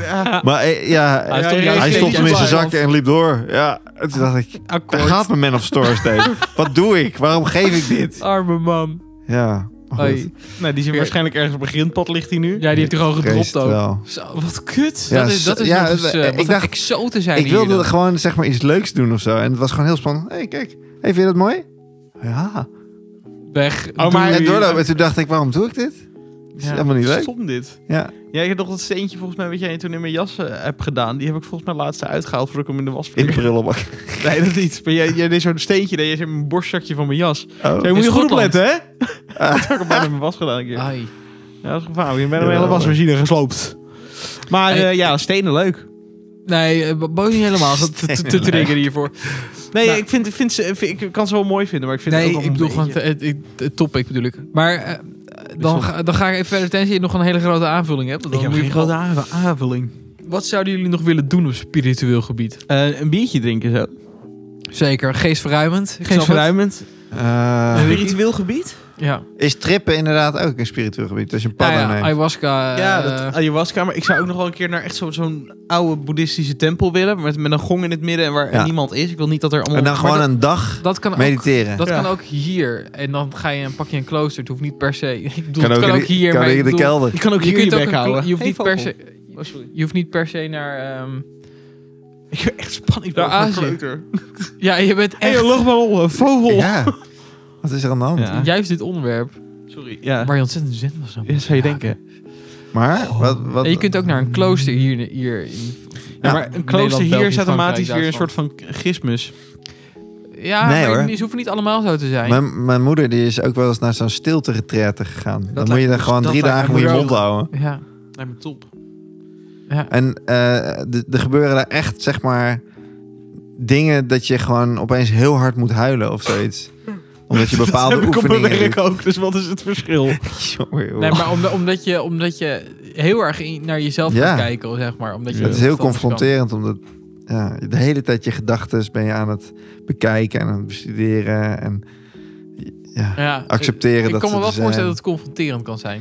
Speaker 1: Ja.
Speaker 3: Maar eh, ja,
Speaker 2: Hij
Speaker 1: Ja,
Speaker 2: stond,
Speaker 1: ja,
Speaker 3: hij
Speaker 1: ja,
Speaker 3: stopte hem in
Speaker 1: ja, ja.
Speaker 3: zijn zak en liep door. Ja, en toen dacht ik, daar
Speaker 2: Akkoord.
Speaker 3: gaat mijn man of store steeds. Wat doe ik? Waarom geef ik dit?
Speaker 2: Arme man.
Speaker 3: Ja, maar goed.
Speaker 2: Hoi.
Speaker 1: Nou, die zit
Speaker 2: Weer-
Speaker 1: waarschijnlijk ergens op een grindpad ligt hij nu.
Speaker 2: Ja, die heeft hij gewoon
Speaker 3: Vrees
Speaker 2: gedropt
Speaker 3: het
Speaker 2: ook.
Speaker 3: wel.
Speaker 2: Zo, wat kut.
Speaker 3: Ja,
Speaker 2: dat is, dat is
Speaker 3: ja,
Speaker 2: nog eens, eh,
Speaker 3: eh,
Speaker 2: wat
Speaker 3: ik
Speaker 2: een
Speaker 3: dacht-
Speaker 2: exoten zijn
Speaker 3: Ik
Speaker 2: jullie
Speaker 3: wilde
Speaker 2: dan.
Speaker 3: gewoon zeg maar iets leuks doen of zo. En het was gewoon heel spannend. Hé, hey, kijk. Hey, vind je dat mooi? Ja.
Speaker 2: Weg.
Speaker 1: Oh, maar-
Speaker 2: doei.
Speaker 3: En doorlopen. En toen dacht ik, waarom doe ik dit? Is
Speaker 2: Ja.
Speaker 3: helemaal niet leuk.
Speaker 1: Stom dit.
Speaker 3: Ja.
Speaker 1: Jij hebt nog dat steentje volgens mij wat jij toen in mijn jas eh, hebt gedaan. Die heb ik volgens mij laatst uitgehaald voordat ik hem in de was
Speaker 3: In de
Speaker 1: vloer.
Speaker 3: prullenbak.
Speaker 1: Nee, dat niet. Maar jij, jij deed zo'n steentje, dat jij zit in mijn borstzakje van mijn jas.
Speaker 3: Oh.
Speaker 1: Zo, je moet je goed
Speaker 2: Schotland.
Speaker 1: opletten, hè? <laughs> Dat heb ik hem bijna in mijn was gedaan een keer.
Speaker 2: Ai.
Speaker 1: Ja, dat is gevaarlijk. Je bent een
Speaker 3: Ja,
Speaker 1: hele
Speaker 3: wel,
Speaker 1: wasmachine gesloopt. Maar
Speaker 2: Hey.
Speaker 1: eh, ja, stenen leuk.
Speaker 2: Nee, eh, Bo niet helemaal te, te, te
Speaker 3: Stenen.
Speaker 2: triggeren hiervoor.
Speaker 1: Nee,
Speaker 2: Nou.
Speaker 1: ik, vind, ik vind ze, vind- ik kan ze wel mooi vinden, maar ik vind
Speaker 2: nee,
Speaker 1: het ook wel
Speaker 2: ik bedoel
Speaker 1: een
Speaker 2: gewoon
Speaker 1: beetje-
Speaker 2: het, het, het topic bedoel ik. Maar eh, dan, ga, dan ga ik even verder tenzij je nog een hele grote aanvulling hebt. want Dan
Speaker 1: Ik heb
Speaker 2: moet je
Speaker 1: geen grote aanv- aanvulling.
Speaker 2: Wat zouden jullie nog willen doen op spiritueel gebied?
Speaker 1: Eh, een biertje drinken zo.
Speaker 2: Zeker, geestverruimend. Ik snap het.
Speaker 1: verruimend.
Speaker 3: Eh,
Speaker 1: Een ritueel gebied?
Speaker 2: Ja,
Speaker 3: is trippen inderdaad ook een spiritueel gebied? Als je een
Speaker 2: ja,
Speaker 3: padda
Speaker 2: ja,
Speaker 3: neemt.
Speaker 2: ayahuasca.
Speaker 1: ja,
Speaker 2: eh,
Speaker 1: dat ayahuasca. Maar ik zou ook nog wel een keer naar echt zo- zo'n oude boeddhistische tempel willen. Met, met een gong in het midden en waar
Speaker 3: Ja.
Speaker 1: niemand is. Ik wil niet dat er allemaal...
Speaker 3: En dan
Speaker 1: maar
Speaker 3: gewoon
Speaker 1: dat-
Speaker 3: een dag
Speaker 2: dat kan ook.
Speaker 3: mediteren.
Speaker 2: Dat
Speaker 1: Ja.
Speaker 2: kan ook hier. En dan ga je een pakje een klooster. Het hoeft niet per se. <laughs> Ik
Speaker 3: kan
Speaker 2: bedoel, het
Speaker 3: ook,
Speaker 2: kan
Speaker 3: in
Speaker 2: ook
Speaker 3: de-
Speaker 2: hier.
Speaker 3: kan
Speaker 2: maar
Speaker 3: ook
Speaker 2: ik
Speaker 3: in de
Speaker 2: bedoel,
Speaker 3: kelder.
Speaker 1: Je kan ook
Speaker 2: Je
Speaker 1: hier
Speaker 2: kunt ook
Speaker 1: bek
Speaker 2: een-
Speaker 1: houden.
Speaker 2: Je hoeft
Speaker 1: Hey,
Speaker 2: niet per
Speaker 1: vogel.
Speaker 2: se.
Speaker 1: Oh, sorry.
Speaker 2: Je hoeft niet per se naar. <laughs> ehm,
Speaker 1: Ik heb echt spanning
Speaker 2: Daar
Speaker 1: door van
Speaker 2: aan zit.
Speaker 1: kleuter.
Speaker 2: Ja, je bent
Speaker 1: Hé, hey,
Speaker 2: echt.
Speaker 1: lach maar op, een vogel.
Speaker 3: Ja. Wat is er aan de hand?
Speaker 1: Ja.
Speaker 2: Juist dit onderwerp.
Speaker 1: Sorry, ja.
Speaker 2: Waar je ontzettend zin was. dan.
Speaker 1: Ja, zou je denken.
Speaker 3: Maar wat, wat,
Speaker 2: Oh. En je kunt ook naar een klooster hier. hier
Speaker 1: Ja,
Speaker 2: in,
Speaker 3: Ja,
Speaker 1: maar een
Speaker 2: Nederland,
Speaker 1: klooster hier
Speaker 2: België,
Speaker 1: is automatisch
Speaker 2: Frankrijk,
Speaker 1: weer een soort van gismus.
Speaker 2: ja,
Speaker 3: Nee,
Speaker 2: maar
Speaker 3: hoor.
Speaker 2: ze hoeven niet allemaal zo te zijn.
Speaker 3: mijn, mijn moeder die is ook wel eens naar zo'n stilte retraite gegaan. dan
Speaker 2: lijkt
Speaker 3: moet je
Speaker 2: me-
Speaker 3: dan gewoon
Speaker 2: dat
Speaker 3: drie
Speaker 2: lijkt
Speaker 3: dagen
Speaker 2: me
Speaker 3: moet je
Speaker 2: wel-
Speaker 3: mond houden.
Speaker 2: Ja,
Speaker 1: Lijkt me top.
Speaker 2: ja.
Speaker 3: En eh, d- er gebeuren daar echt, zeg maar, dingen dat je gewoon opeens heel hard moet huilen of
Speaker 1: <laughs>
Speaker 3: zoiets. Omdat je bepaalde
Speaker 1: dat heb ik op mijn
Speaker 3: oefeningen
Speaker 1: werk
Speaker 3: doet.
Speaker 1: ook, dus wat is het verschil?
Speaker 3: <laughs> Jongen, joh.
Speaker 2: Nee, maar omdat, omdat, je, omdat je heel erg in- naar jezelf
Speaker 3: Ja.
Speaker 2: gaat kijken, zeg maar. Omdat je
Speaker 3: het is heel
Speaker 2: dat anders kan.
Speaker 3: confronterend, omdat ja, de hele tijd je gedachten ben je aan het bekijken en aan het bestuderen. En ja,
Speaker 2: Ja,
Speaker 3: accepteren
Speaker 2: ik, ik
Speaker 3: dat
Speaker 2: kan me
Speaker 3: ze
Speaker 2: wel
Speaker 3: er zijn. Oh.
Speaker 2: voorstellen dat het confronterend kan zijn.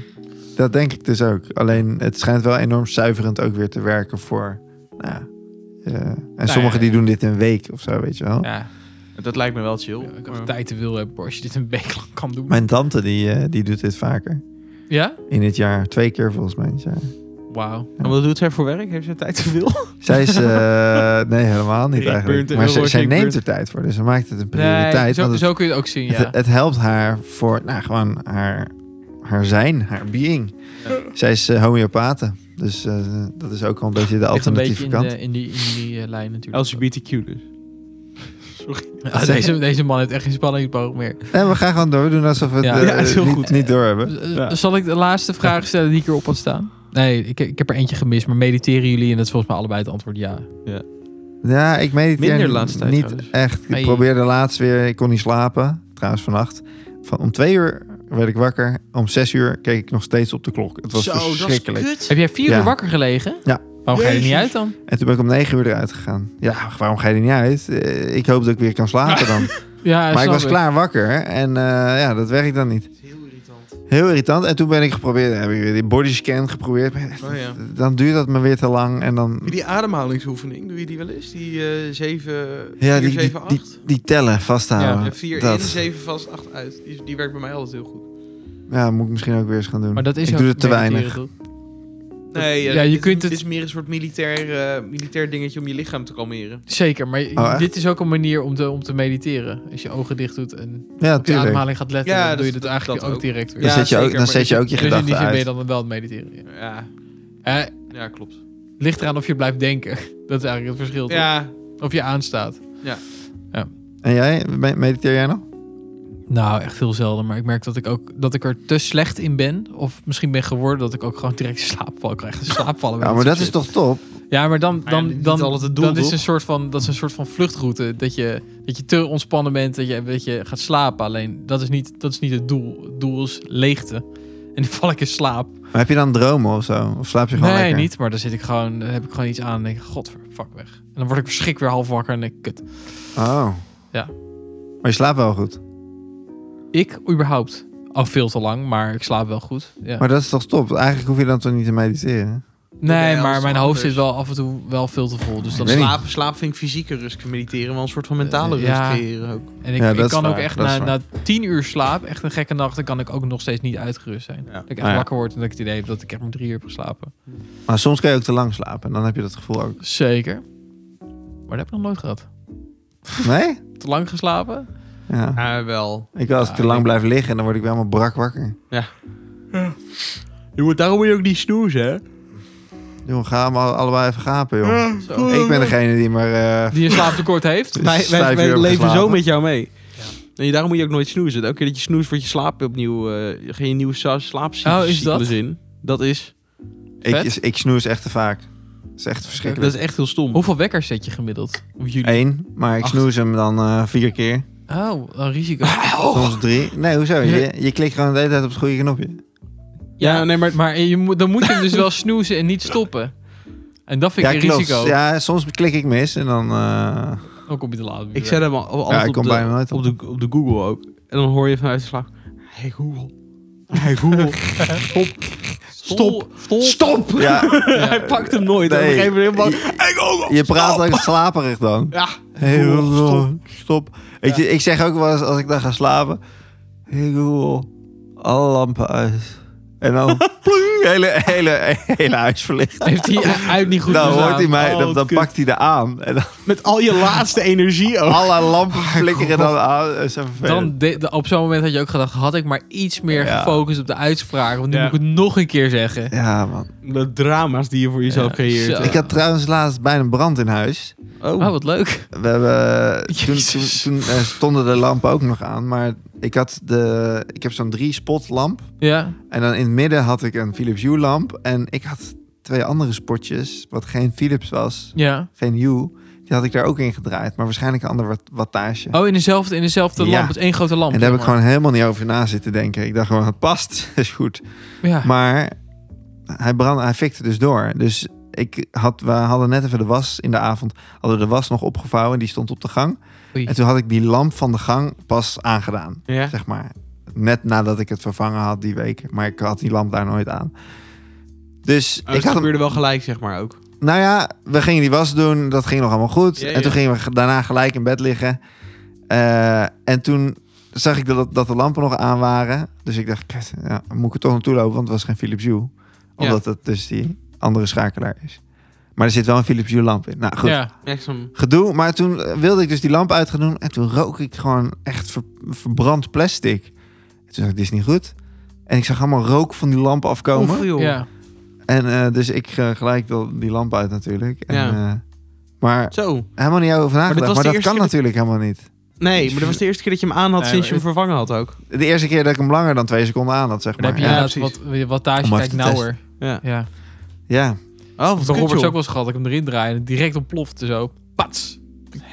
Speaker 3: dat denk ik dus ook. Alleen het schijnt wel enorm zuiverend ook weer te werken voor. Nou, ja, eh, en sommigen
Speaker 2: Nou ja.
Speaker 3: die doen dit een week of zo, weet je wel.
Speaker 2: Ja,
Speaker 1: <laughs> Dat lijkt me wel chill.
Speaker 2: ik heb tijd te wil hebben als je dit een week lang kan doen.
Speaker 3: Mijn tante die, eh, die doet dit vaker.
Speaker 2: Ja?
Speaker 3: In het jaar. Twee keer volgens mij in het jaar.
Speaker 2: Wauw.
Speaker 1: En wat doet zij voor werk? Heeft ze tijd te <laughs> veel?
Speaker 3: Zij is... eh, nee, helemaal niet
Speaker 1: Ik burnt
Speaker 3: eigenlijk.
Speaker 1: een
Speaker 3: Maar
Speaker 1: euro,
Speaker 3: ze, zij
Speaker 1: ik
Speaker 3: neemt
Speaker 1: burnt-
Speaker 3: er tijd voor. Dus ze maakt het een
Speaker 2: Nee,
Speaker 3: prioriteit.
Speaker 2: zo,
Speaker 3: want het,
Speaker 2: zo kun je het ook zien, ja.
Speaker 3: het, het helpt haar voor... Nou, gewoon haar, haar zijn. Haar being.
Speaker 1: Ja.
Speaker 3: Zij is eh, homeopathe. Dus eh, dat is ook al een beetje de
Speaker 2: Ligt een
Speaker 3: alternatieve
Speaker 2: beetje in,
Speaker 3: kant.
Speaker 2: de- in die, in die eh, lijn natuurlijk.
Speaker 1: LGBTQ dus.
Speaker 2: Ah, deze, deze man heeft echt geen spanningsboog meer.
Speaker 3: En we gaan gewoon door. We doen alsof we het
Speaker 2: Ja.
Speaker 3: eh,
Speaker 1: Ja, is heel
Speaker 3: niet,
Speaker 1: goed.
Speaker 3: niet door hebben.
Speaker 2: Eh,
Speaker 1: Ja.
Speaker 2: Zal ik de laatste vraag stellen die ik erop had staan? Nee, ik, ik heb er eentje gemist, maar mediteren jullie? En dat is volgens mij allebei het antwoord ja.
Speaker 3: Ja, ik mediteer
Speaker 1: Minder de laatste tijd
Speaker 3: niet
Speaker 1: trouwens.
Speaker 3: echt. Ik
Speaker 2: Hey.
Speaker 3: probeerde laatst weer, ik kon niet slapen. Trouwens vannacht. Van, om twee uur werd ik wakker. Om zes uur keek ik nog steeds op de klok. Het was verschrikkelijk.
Speaker 2: Heb jij vier
Speaker 3: Ja.
Speaker 2: uur wakker gelegen?
Speaker 3: Ja.
Speaker 2: Waarom ga je er niet
Speaker 1: Jezus.
Speaker 2: uit dan?
Speaker 3: En toen ben ik om negen uur eruit gegaan. Ja, waarom ga je er niet uit? Eh, ik hoop dat ik weer kan slapen dan.
Speaker 2: <laughs> Ja,
Speaker 3: maar ik
Speaker 2: snap
Speaker 3: was klaar wakker. En eh, ja, dat werkt dan niet. Heel irritant. En toen ben ik geprobeerd, heb ik weer die bodyscan geprobeerd. Maar
Speaker 1: Oh ja.
Speaker 3: Dan duurt dat me weer te lang. En dan
Speaker 1: Die ademhalingsoefening, doe je die wel eens? Die eh, 7,
Speaker 3: Ja, die- 4, 7, die-
Speaker 1: 8?
Speaker 3: die tellen vasthouden. Ja,
Speaker 1: 4
Speaker 3: dat.
Speaker 1: in, 7 vast, 8 uit. Die, werkt bij mij altijd heel goed.
Speaker 3: moet ik misschien ook weer eens gaan doen.
Speaker 2: Maar dat is
Speaker 3: ik
Speaker 2: ook
Speaker 3: doe het te
Speaker 2: mediteren,
Speaker 3: weinig.
Speaker 2: toch?
Speaker 1: Nee, eh,
Speaker 2: Ja, je
Speaker 1: dit,
Speaker 2: kunt het-
Speaker 1: dit is meer een soort militair, eh, militair dingetje om je lichaam te kalmeren.
Speaker 2: Zeker, maar
Speaker 3: Oh, echt?
Speaker 2: dit is ook een manier om te, om te mediteren. Als je ogen dicht doet en
Speaker 3: Ja,
Speaker 2: op je
Speaker 3: tuurlijk.
Speaker 2: ademhaling gaat letten,
Speaker 1: Ja,
Speaker 2: dan doe je
Speaker 1: dat-
Speaker 2: dus dat eigenlijk
Speaker 1: dat
Speaker 2: ook
Speaker 1: ook.
Speaker 2: direct weer.
Speaker 3: Dan
Speaker 1: Ja,
Speaker 3: zet je ook,
Speaker 1: zeker,
Speaker 3: dan
Speaker 1: maar
Speaker 3: zet je,
Speaker 1: ik-
Speaker 3: ook je
Speaker 2: dus in die
Speaker 3: gedachten
Speaker 2: zin ben je
Speaker 3: uit.
Speaker 2: dan wel aan het mediteren. ja.
Speaker 1: Ja,
Speaker 2: Eh,
Speaker 1: ja klopt.
Speaker 2: ligt eraan of je blijft denken. <laughs> Dat is eigenlijk het verschil. toch?
Speaker 1: Ja,
Speaker 2: Of je aanstaat.
Speaker 3: En jij, Me- mediteer jij nog?
Speaker 2: Nou, echt heel zelden. Maar ik merk dat ik ook dat ik er te slecht in ben. Of misschien ben geworden dat ik ook gewoon direct slaapval krijg. Dus Slaapvallen.
Speaker 3: Ja, maar dat is toch top?
Speaker 2: Ja, maar dan,
Speaker 1: ja,
Speaker 2: dan,
Speaker 1: niet
Speaker 2: dan,
Speaker 1: altijd het doel,
Speaker 2: dan is
Speaker 1: toch?
Speaker 2: een soort van dat is een soort van vluchtroute dat je dat je te ontspannen bent dat je dat je gaat slapen. Alleen dat is niet dat is niet het doel. Het doel is leegte. En dan val ik in slaap.
Speaker 3: Maar heb je dan dromen of zo? Of slaap je gewoon
Speaker 2: Nee,
Speaker 3: lekker?
Speaker 2: niet. Maar dan zit ik gewoon dan heb ik gewoon iets aan en denk ik, god fuck weg. En dan word ik verschrik weer half wakker en denk ik, kut.
Speaker 3: Oh.
Speaker 2: Ja.
Speaker 3: Maar je slaapt wel goed.
Speaker 2: Ik überhaupt. al veel te lang, maar ik slaap wel goed. Ja.
Speaker 3: Maar dat is toch top? Eigenlijk hoef je dan toch niet te mediteren?
Speaker 2: nee,
Speaker 1: dat
Speaker 2: maar
Speaker 1: is
Speaker 2: mijn
Speaker 1: toch
Speaker 2: hoofd
Speaker 1: anders?
Speaker 2: zit wel af en toe wel veel te vol. Dus
Speaker 3: Ik
Speaker 2: dat
Speaker 3: weet niet.
Speaker 1: Slaap, slaap vind ik fysieke rust mediteren, maar een soort van mentale
Speaker 2: Eh,
Speaker 1: rust
Speaker 2: ja.
Speaker 1: creëren ook.
Speaker 2: En ik,
Speaker 3: Ja,
Speaker 2: ik
Speaker 3: dat is
Speaker 2: kan ook
Speaker 3: waar,
Speaker 2: echt
Speaker 3: dat is
Speaker 2: na, na tien uur slaap, echt een gekke nacht, dan kan ik ook nog steeds niet uitgerust zijn.
Speaker 1: Ja.
Speaker 2: Dat ik echt
Speaker 3: Nou ja.
Speaker 2: wakker word en dat ik het idee heb dat ik echt maar drie uur heb geslapen.
Speaker 3: Maar soms kan je ook te lang slapen. En dan heb je dat gevoel
Speaker 2: <laughs>
Speaker 3: ook.
Speaker 2: Zeker. Maar dat heb ik nog nooit gehad.
Speaker 3: Nee?
Speaker 2: Te lang geslapen?
Speaker 3: Ja.
Speaker 1: Ah, wel.
Speaker 3: Ik, als ik te lang blijf liggen, dan word ik weer helemaal brak wakker.
Speaker 1: Je moet, daarom moet je ook die snoezen, hè?
Speaker 3: Jongen, ga maar allebei even gapen, joh.
Speaker 2: Zo.
Speaker 3: Ik ben degene die maar... eh,
Speaker 2: Die een slaaptekort heeft?
Speaker 1: Wij,
Speaker 3: vijf
Speaker 1: wij,
Speaker 3: uur
Speaker 1: wij
Speaker 3: hebben
Speaker 1: leven
Speaker 3: geslapen.
Speaker 1: zo met jou mee. En daarom moet je ook nooit snoezen. Elke keer dat je snoest, wordt je slaap opnieuw... eh geen nieuwe sa- slaapcyclus
Speaker 2: Oh, is dat?
Speaker 1: in. Dat is,
Speaker 3: Ik,
Speaker 2: Vet.
Speaker 3: is- ik snoes echt te vaak. Dat is echt
Speaker 1: dat
Speaker 3: verschrikkelijk.
Speaker 1: is echt heel stom.
Speaker 2: Hoeveel wekkers zet je gemiddeld? Op jullie?
Speaker 3: Eén, maar ik
Speaker 2: Acht.
Speaker 3: snoes hem dan eh, vier keer.
Speaker 2: Oh, een risico. oh.
Speaker 1: Oh.
Speaker 3: Soms drie. Nee, hoezo? Je, je klikt gewoon de hele tijd op het goede knopje.
Speaker 1: Ja, nee, maar...
Speaker 2: Maar je moet, dan moet je hem dus <laughs> wel snoezen en niet stoppen. En dat vind
Speaker 3: ja,
Speaker 2: ik een
Speaker 3: klopt.
Speaker 2: risico.
Speaker 3: Ja, soms klik ik mis en dan... eh,
Speaker 2: Dan kom je te laat. weer.
Speaker 1: Ik zet hem al, altijd
Speaker 3: Ja, ik
Speaker 1: op,
Speaker 3: kom
Speaker 1: de,
Speaker 3: bijna nooit
Speaker 1: op, de, op de Google ook. En dan hoor je vanuit de slaap... Hey Google. Hey Google. Stop. Stop.
Speaker 2: Stop.
Speaker 1: <laughs> Stop! <laughs>
Speaker 3: ja,
Speaker 1: Hij pakt hem nooit.
Speaker 3: Nee.
Speaker 1: En op een gegeven moment helemaal... Hey Google.
Speaker 3: je praat ook slaperig dan.
Speaker 1: Ja.
Speaker 3: Hey,
Speaker 1: Google,
Speaker 3: Google, stop. Weet je, ik zeg ook wel eens als ik dan ga slapen... Hey Google, alle lampen uit.
Speaker 1: <laughs>
Speaker 3: En dan... pling, hele, hele, hele huis verlicht.
Speaker 2: Heeft hij uit niet goed
Speaker 3: Dan
Speaker 2: verstaan.
Speaker 3: Nou, hoort hij mij,
Speaker 1: Oh,
Speaker 3: dan, dan
Speaker 1: kut. Oh.
Speaker 3: pakt hij er aan. En dan
Speaker 1: Met al je laatste energie ook.
Speaker 3: alle lampen flikkeren dan aan. Dat is zo vervelend.
Speaker 2: Dan de- de- op zo'n moment had je ook gedacht, had ik maar iets meer
Speaker 3: Ja.
Speaker 2: gefocust op de uitspraak. Want nu
Speaker 1: Ja.
Speaker 2: moet ik het nog een keer zeggen.
Speaker 3: Ja, man.
Speaker 1: De drama's die je voor jezelf
Speaker 2: Ja,
Speaker 1: creëert.
Speaker 2: zo.
Speaker 1: hè.
Speaker 3: Ik had trouwens laatst bijna een brand in huis.
Speaker 2: Oh, wat leuk.
Speaker 3: We hebben, eh, toen toen,
Speaker 2: Jezus.
Speaker 3: toen, eh, stonden de lampen ook nog aan, maar ik, had de, ik heb zo'n drie spot lamp.
Speaker 2: Ja.
Speaker 3: En dan in het midden had ik een Philips Hue lamp. En ik had twee andere spotjes, wat geen Philips was,
Speaker 2: ja.
Speaker 3: geen Hue. Die had ik daar ook in gedraaid, maar waarschijnlijk een ander wat- wattage.
Speaker 2: Oh, in dezelfde, in dezelfde
Speaker 3: Ja.
Speaker 2: lamp. Het is één grote lamp.
Speaker 3: en daar heb ik
Speaker 2: zeg
Speaker 3: gewoon helemaal niet over na zitten denken. Ik dacht gewoon, het past, <laughs> is goed.
Speaker 2: maar. Ja.
Speaker 3: Maar hij, brand, hij fikte dus door. Dus ik had, we hadden net even de was in de avond. Hadden we de was nog opgevouwen en die stond op de gang.
Speaker 2: Oei.
Speaker 3: En toen had ik die lamp van de gang pas aangedaan.
Speaker 1: Ja. Oh,
Speaker 3: Zeg maar. Net nadat ik het vervangen had die week. Maar ik had die lamp daar nooit aan. Dus
Speaker 1: Oh, het
Speaker 3: ik had hem
Speaker 1: gebeurde wel gelijk, zeg maar ook.
Speaker 3: nou ja, we gingen die was doen. Dat ging nog allemaal goed.
Speaker 1: Ja,
Speaker 3: en toen
Speaker 1: ja.
Speaker 3: gingen we g- daarna gelijk in bed liggen. Eh, en toen zag ik dat, dat de lampen nog aan waren. Dus ik dacht, kut, ja, moet ik er toch naartoe lopen? Want het was geen Philips Hue. Omdat het dus die andere schakelaar is. Maar er zit wel een Philips Hue lamp in. Nou goed,
Speaker 2: Ja.
Speaker 1: Echt zo'n...
Speaker 3: gedoe. Maar toen eh, wilde ik dus die lamp uit gaan doen. En toen rook ik gewoon echt ver- verbrand plastic. En toen dacht ik, dit is niet goed. En ik zag allemaal rook van die lamp afkomen.
Speaker 1: Oef, joh.
Speaker 2: ja.
Speaker 3: En eh, dus ik eh, gelijk wel die lamp uit natuurlijk. En,
Speaker 1: Ja.
Speaker 3: eh, maar
Speaker 1: Zo.
Speaker 3: helemaal niet over
Speaker 1: dit was
Speaker 3: nagedacht. Maar,
Speaker 1: de
Speaker 3: dat
Speaker 1: eerste
Speaker 3: kan
Speaker 1: keer-
Speaker 3: natuurlijk helemaal niet.
Speaker 1: Nee, maar dat was de eerste keer dat je hem aan had
Speaker 2: Nee,
Speaker 1: sinds je
Speaker 2: maar
Speaker 1: hem vervangen had ook.
Speaker 3: De eerste keer dat ik hem langer dan twee seconden aan had, zeg
Speaker 2: Dan heb
Speaker 3: maar.
Speaker 2: je
Speaker 3: Ja,
Speaker 2: inderdaad
Speaker 1: precies.
Speaker 2: wat, wat wattage
Speaker 3: Om even
Speaker 2: kijkt
Speaker 3: te
Speaker 2: nauwer.
Speaker 1: Ja.
Speaker 2: Ja.
Speaker 3: ja.
Speaker 1: Oh, wat
Speaker 2: Van
Speaker 1: kut,
Speaker 2: Roberts
Speaker 1: joh.
Speaker 2: ook wel eens gehad. dat Ik hem erin draai en het direct ontploft. Zo. Pats.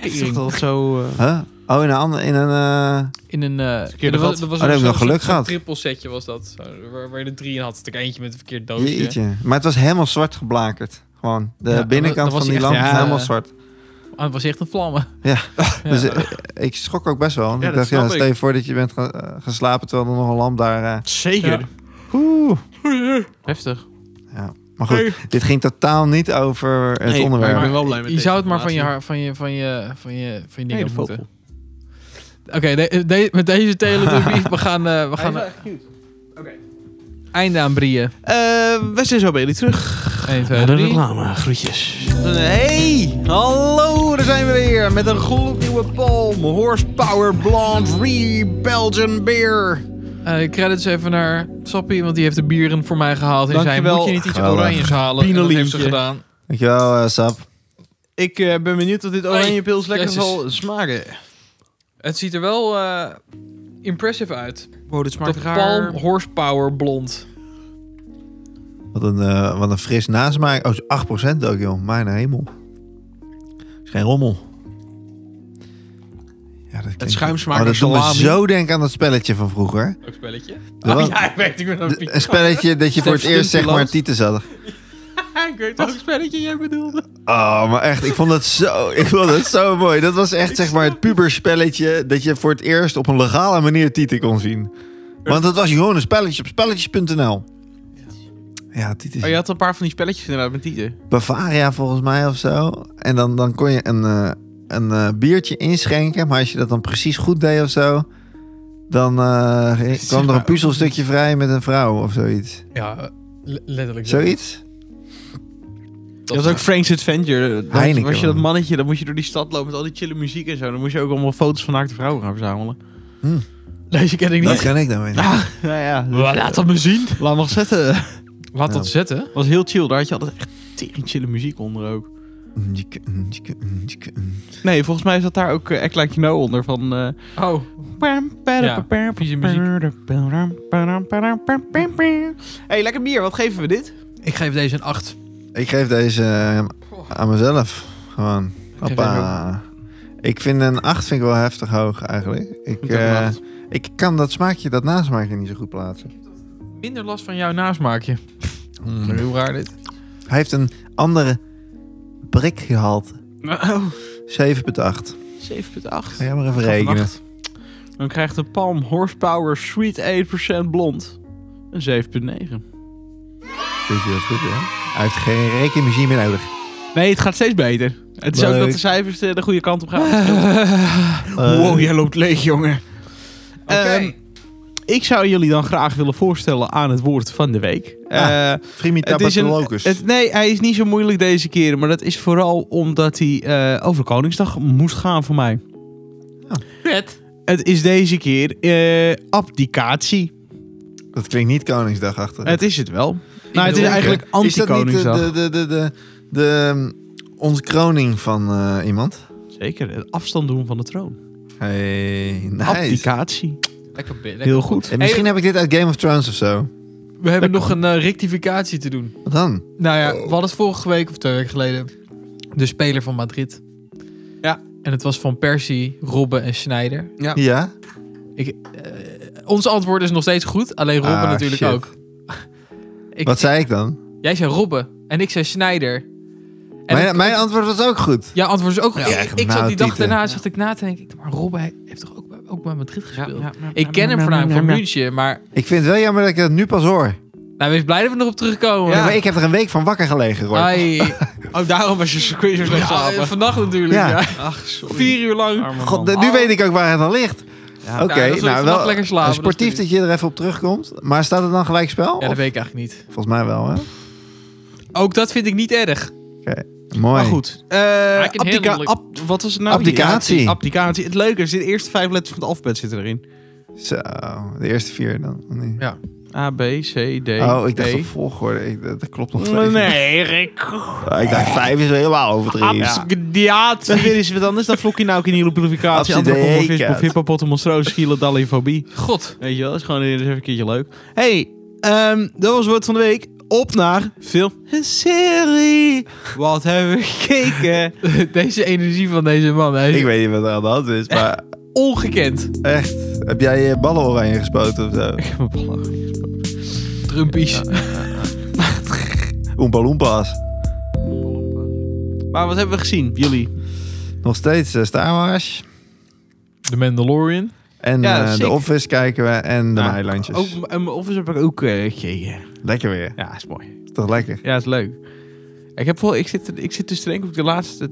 Speaker 1: Ik dacht dat het zo... eh,
Speaker 3: Huh? Oh, in een ander... In een, eh,
Speaker 2: In een... eh
Speaker 1: verkeerde
Speaker 2: er was-
Speaker 1: gat.
Speaker 2: er was
Speaker 3: Oh, dan heb ik
Speaker 2: zo'n-
Speaker 3: nog geluk
Speaker 2: zo'n
Speaker 3: gehad.
Speaker 2: triple setje was dat. Zo, waar, waar je er drie in had. Stuk eentje met een verkeerd doosje.
Speaker 3: jeetje. Maar het was helemaal zwart geblakerd. Gewoon. De
Speaker 2: Ja, dan
Speaker 3: binnenkant
Speaker 2: was
Speaker 3: van
Speaker 2: hij
Speaker 3: die
Speaker 2: echt,
Speaker 3: lamp is
Speaker 2: ja,
Speaker 3: helemaal
Speaker 2: eh,
Speaker 3: zwart.
Speaker 2: Ah, het was echt een vlamme.
Speaker 3: Ja.
Speaker 2: Ja.
Speaker 3: Dus eh, ik schrok ook best wel. Want
Speaker 1: Ja,
Speaker 3: ik
Speaker 1: dat
Speaker 3: dacht, ja,
Speaker 1: snap
Speaker 3: stel
Speaker 1: ik.
Speaker 3: je voor dat je bent gaan, eh, geslapen terwijl er nog een lamp daar... eh,
Speaker 1: Zeker.
Speaker 2: Ja.
Speaker 3: oeh.
Speaker 1: Heftig.
Speaker 3: Maar goed, dit ging totaal niet over het
Speaker 1: Nee,
Speaker 3: onderwerp.
Speaker 1: maar ik ben wel blij met
Speaker 2: Je
Speaker 1: deze
Speaker 2: zou het maar van je,
Speaker 1: informatie.
Speaker 2: haar- van je, van je, van je, van je
Speaker 1: Hele
Speaker 2: dingen
Speaker 1: vogel.
Speaker 2: moeten. Oké, de- de- met deze teletubbie, we gaan, eh, we gaan einde aan brieën.
Speaker 1: Eh, we zijn zo bij jullie terug.
Speaker 2: 1,
Speaker 1: Naar
Speaker 2: 2,
Speaker 1: Eh, de
Speaker 2: 3.
Speaker 1: reclame. Groetjes. Hey, hallo, daar zijn we weer. Met een gloednieuwe palm. Horsepower Blonde Re Belgian Beer.
Speaker 2: Eh, credits even naar Sappie, want die heeft de bieren voor mij gehaald. En zei,
Speaker 1: Dankjewel.
Speaker 2: moet je niet iets
Speaker 3: Geweldig.
Speaker 2: oranjes halen? En dat heeft ze
Speaker 1: Pinolientje.
Speaker 2: gedaan.
Speaker 3: Dankjewel, eh, Sap.
Speaker 1: Ik eh, ben benieuwd of dit oranje pils lekker
Speaker 2: Jezus.
Speaker 1: zal smaken.
Speaker 2: Het ziet er wel eh, impressive uit.
Speaker 1: Wow, Oh, dit
Speaker 2: Dat palm horsepower blond.
Speaker 3: Wat een, eh, wat een fris nasmaak. Oh, 8% ook, joh. Mijn hemel. Is geen rommel. Ja, dat klinkt-
Speaker 1: Het schuim smaakt
Speaker 3: oh,
Speaker 1: naar
Speaker 3: dat doet me
Speaker 1: salami.
Speaker 3: zo denken aan dat spelletje van vroeger.
Speaker 2: Ook spelletje?
Speaker 3: Dat was-
Speaker 2: <laughs> ja, ik weet, ik ben ook
Speaker 3: d- Een spelletje dat je voor het
Speaker 2: Stef
Speaker 3: eerst zeg maar
Speaker 2: Stimpeland.
Speaker 3: tieten zat.
Speaker 2: Ik weet welk spelletje jij bedoelde.
Speaker 3: Oh, maar echt, ik vond het zo, <laughs> ik vond het zo mooi. Dat was echt zeg maar het puberspelletje dat je voor het eerst op een legale manier tieten kon zien. Want dat was gewoon een spelletje op spelletjes.nl. Ja, dit is
Speaker 1: Oh, je had een paar van die spelletjes inderdaad met tieten.
Speaker 3: Bavaria volgens mij of zo. En dan, dan kon je een, eh, een eh, biertje inschenken. Maar als je dat dan precies goed deed of zo... Dan eh, kwam er een puzzelstukje vrij met een vrouw of zoiets.
Speaker 2: Ja, eh, le- letterlijk.
Speaker 3: Zoiets?
Speaker 1: Dat was ook Frank's Adventure. Dat
Speaker 3: Heineken,
Speaker 1: was je dat
Speaker 3: man.
Speaker 1: mannetje, dan moest je door die stad lopen met al die chille muziek en zo. Dan moest je ook allemaal foto's van naakte vrouwen gaan verzamelen.
Speaker 2: Deze ken ik
Speaker 3: Hmm.
Speaker 1: <laughs>
Speaker 3: Dat
Speaker 2: niet.
Speaker 3: kan ik dan weer. niet.
Speaker 1: Ah, nou ja. dus,
Speaker 2: Laat dat me zien.
Speaker 1: eh, laat maar zetten.
Speaker 2: Laat dat
Speaker 3: Ja.
Speaker 2: zetten.
Speaker 1: was heel chill. Daar had je altijd echt tering chille muziek onder ook. Nee, volgens mij zat daar ook eh, Act Like You Know onder van... eh,
Speaker 2: Oh, vieze muziek.
Speaker 1: hey, lekker bier. Wat geven we dit?
Speaker 2: ik geef deze een 8.
Speaker 3: Ik geef deze eh, aan mezelf. Gewoon. Hoppa. Ik vind een 8 vind ik wel heftig hoog eigenlijk. Ik,
Speaker 1: Ik ook een
Speaker 3: eh,
Speaker 1: acht.
Speaker 3: ik kan dat smaakje, dat nasmaakje niet zo goed plaatsen.
Speaker 2: Minder last van jouw nasmaakje.
Speaker 1: Hmm.
Speaker 2: Heel raar dit.
Speaker 3: Hij heeft een andere prikgehalte.
Speaker 1: Oh,
Speaker 3: 7,8.
Speaker 1: 7,8.
Speaker 3: Ga jij maar even rekenen.
Speaker 1: Dan krijgt de Palm Horsepower Sweet 8% blond. Een 7,9.
Speaker 3: Weet je dat goed, hè? Hij heeft geen rekenmachine meer nodig.
Speaker 1: Nee, het gaat steeds beter. Het is ook
Speaker 3: Leuk.
Speaker 1: dat de cijfers eh, de goede kant op gaan.
Speaker 3: Eh,
Speaker 1: jij loopt leeg, jongen. Ehm, ik zou jullie dan graag willen voorstellen aan het woord van de week.
Speaker 3: Ah.
Speaker 1: Eh,
Speaker 3: Frimita
Speaker 1: Het is een-
Speaker 3: Bartolocus.
Speaker 1: Het, nee, hij is niet zo moeilijk deze keer. Maar dat is vooral omdat hij eh, over Koningsdag moest gaan voor mij.
Speaker 2: Vet.
Speaker 1: Het is deze keer eh, abdicatie.
Speaker 3: Dat klinkt niet Koningsdagachtig.
Speaker 1: Het is het wel. Nou, het is
Speaker 2: bedoel,
Speaker 1: eigenlijk
Speaker 3: Is dat niet eh,
Speaker 1: anti-Koningsdag.
Speaker 3: de, de, de, de, de, de, ehm, ontkroning van eh, iemand?
Speaker 1: Zeker, het afstand doen van de troon.
Speaker 3: Hey, nice.
Speaker 1: Abdicatie.
Speaker 2: Lekker binnen.
Speaker 1: Heel goed.
Speaker 3: En misschien
Speaker 2: Hey,
Speaker 3: heb ik dit uit Game of Thrones of zo.
Speaker 2: We hebben nog een eh, rectificatie te doen.
Speaker 3: Wat dan?
Speaker 2: Nou ja, we hadden het vorige week of twee weken geleden. De speler van Madrid.
Speaker 1: Ja.
Speaker 2: En het was van Persie, Robben en Schneider.
Speaker 1: Ja.
Speaker 3: Ja?
Speaker 2: Ik, eh, ons antwoord is nog steeds goed, alleen Robben
Speaker 3: Ah,
Speaker 2: natuurlijk
Speaker 3: shit.
Speaker 2: ook. Ik-
Speaker 3: Wat zei <laughs> ik dan?
Speaker 2: Jij zei Robben en ik zei Schneider. En
Speaker 3: Mijn,
Speaker 2: ik-
Speaker 3: mijn antwoord was ook goed.
Speaker 2: Jouw antwoord is ook goed.
Speaker 3: Ja,
Speaker 2: ik, ik zat
Speaker 3: nou,
Speaker 2: die dag
Speaker 3: Tieten.
Speaker 2: daarna zat ik na te denken. ik dacht, Maar Robben hij heeft toch ook, bij- ook bij Madrid gespeeld?
Speaker 1: Ja,
Speaker 2: Ik ken hem
Speaker 1: ja,
Speaker 2: voornamelijk
Speaker 1: ja,
Speaker 2: van
Speaker 1: ja.
Speaker 2: München, maar
Speaker 3: Ik vind het wel jammer dat ik dat nu pas hoor.
Speaker 2: nou, wees blij dat we erop terugkomen.
Speaker 3: Ja, maar ik heb er een week van wakker gelegen, Roy.
Speaker 2: <laughs> Ai.
Speaker 1: Oh, daarom was je zo kun je zo slecht
Speaker 2: Ja, eh,
Speaker 1: slapen.
Speaker 2: vannacht natuurlijk.
Speaker 3: Ja.
Speaker 2: Ja.
Speaker 1: Ach, sorry.
Speaker 2: Vier uur lang.
Speaker 1: Arme man.
Speaker 3: God, de- nu weet ik ook waar het aan ligt.
Speaker 1: Ja.
Speaker 3: Oké,
Speaker 2: Ja, dan zul je
Speaker 3: nou
Speaker 2: vannacht
Speaker 3: wel
Speaker 2: lekker slapen,
Speaker 3: eh,
Speaker 2: dat
Speaker 3: sportief
Speaker 2: is
Speaker 3: dat je er even op terugkomt. Maar staat het dan gelijk spel?
Speaker 2: Ja, dat
Speaker 3: Of-
Speaker 2: weet ik eigenlijk niet.
Speaker 3: Volgens mij wel, hè?
Speaker 2: Ook dat vind ik niet erg.
Speaker 3: Mooi.
Speaker 1: Maar goed. eh,
Speaker 2: I can
Speaker 1: abdica-
Speaker 2: handle it.
Speaker 1: ab- wat was het nou?
Speaker 3: Abdicatie.
Speaker 1: Ja, Abdicatie. Het leuke is, de eerste vijf letters van het alfabet zitten erin.
Speaker 3: Zo, de eerste vier dan. Oh, nee.
Speaker 1: A, B, C, D,
Speaker 3: oh, ik dacht
Speaker 1: E.
Speaker 3: de volgorde. Ik, dat, dat klopt nog steeds.
Speaker 1: Nee, Rick.
Speaker 3: Ah, Ik dacht vijf is helemaal overdreven. Ja.
Speaker 1: Abdicatie. Dit is wat anders dan Flokkie Nauki in Illuplificatie.
Speaker 3: Abdideekaat.
Speaker 1: Antropomorfisme, hippopotamus, roos, schielen, dallifobie.
Speaker 2: God.
Speaker 1: Weet je wel, dat is gewoon eens even een keertje leuk. hey, ehm, dat was het woord van de week. Op naar film en serie. Wat hebben we gekeken?
Speaker 2: <laughs> Deze energie van deze man. Hij is
Speaker 3: Ik weet niet wat er aan de hand is, maar
Speaker 2: ongekend.
Speaker 3: echt. Heb jij je ballen oranje gespoten of zo?
Speaker 2: <laughs>
Speaker 1: Ik heb een belachelijk.
Speaker 2: Trumpies.
Speaker 3: Oompa Loompas.
Speaker 1: Maar wat hebben we gezien, jullie?
Speaker 3: Nog steeds eh, Star Wars.
Speaker 2: De Mandalorian.
Speaker 3: En
Speaker 1: Ja,
Speaker 3: eh,
Speaker 1: sick.
Speaker 3: de Office kijken we en de
Speaker 1: Ja,
Speaker 3: Meilandjes.
Speaker 1: Ook, en mijn office heb ik ook... eh, gekeken.
Speaker 3: Lekker weer.
Speaker 1: ja, is mooi.
Speaker 3: Toch lekker.
Speaker 1: Ja, is leuk. Ik, heb wel, ik, zit, ik zit dus te denken of ik de laatste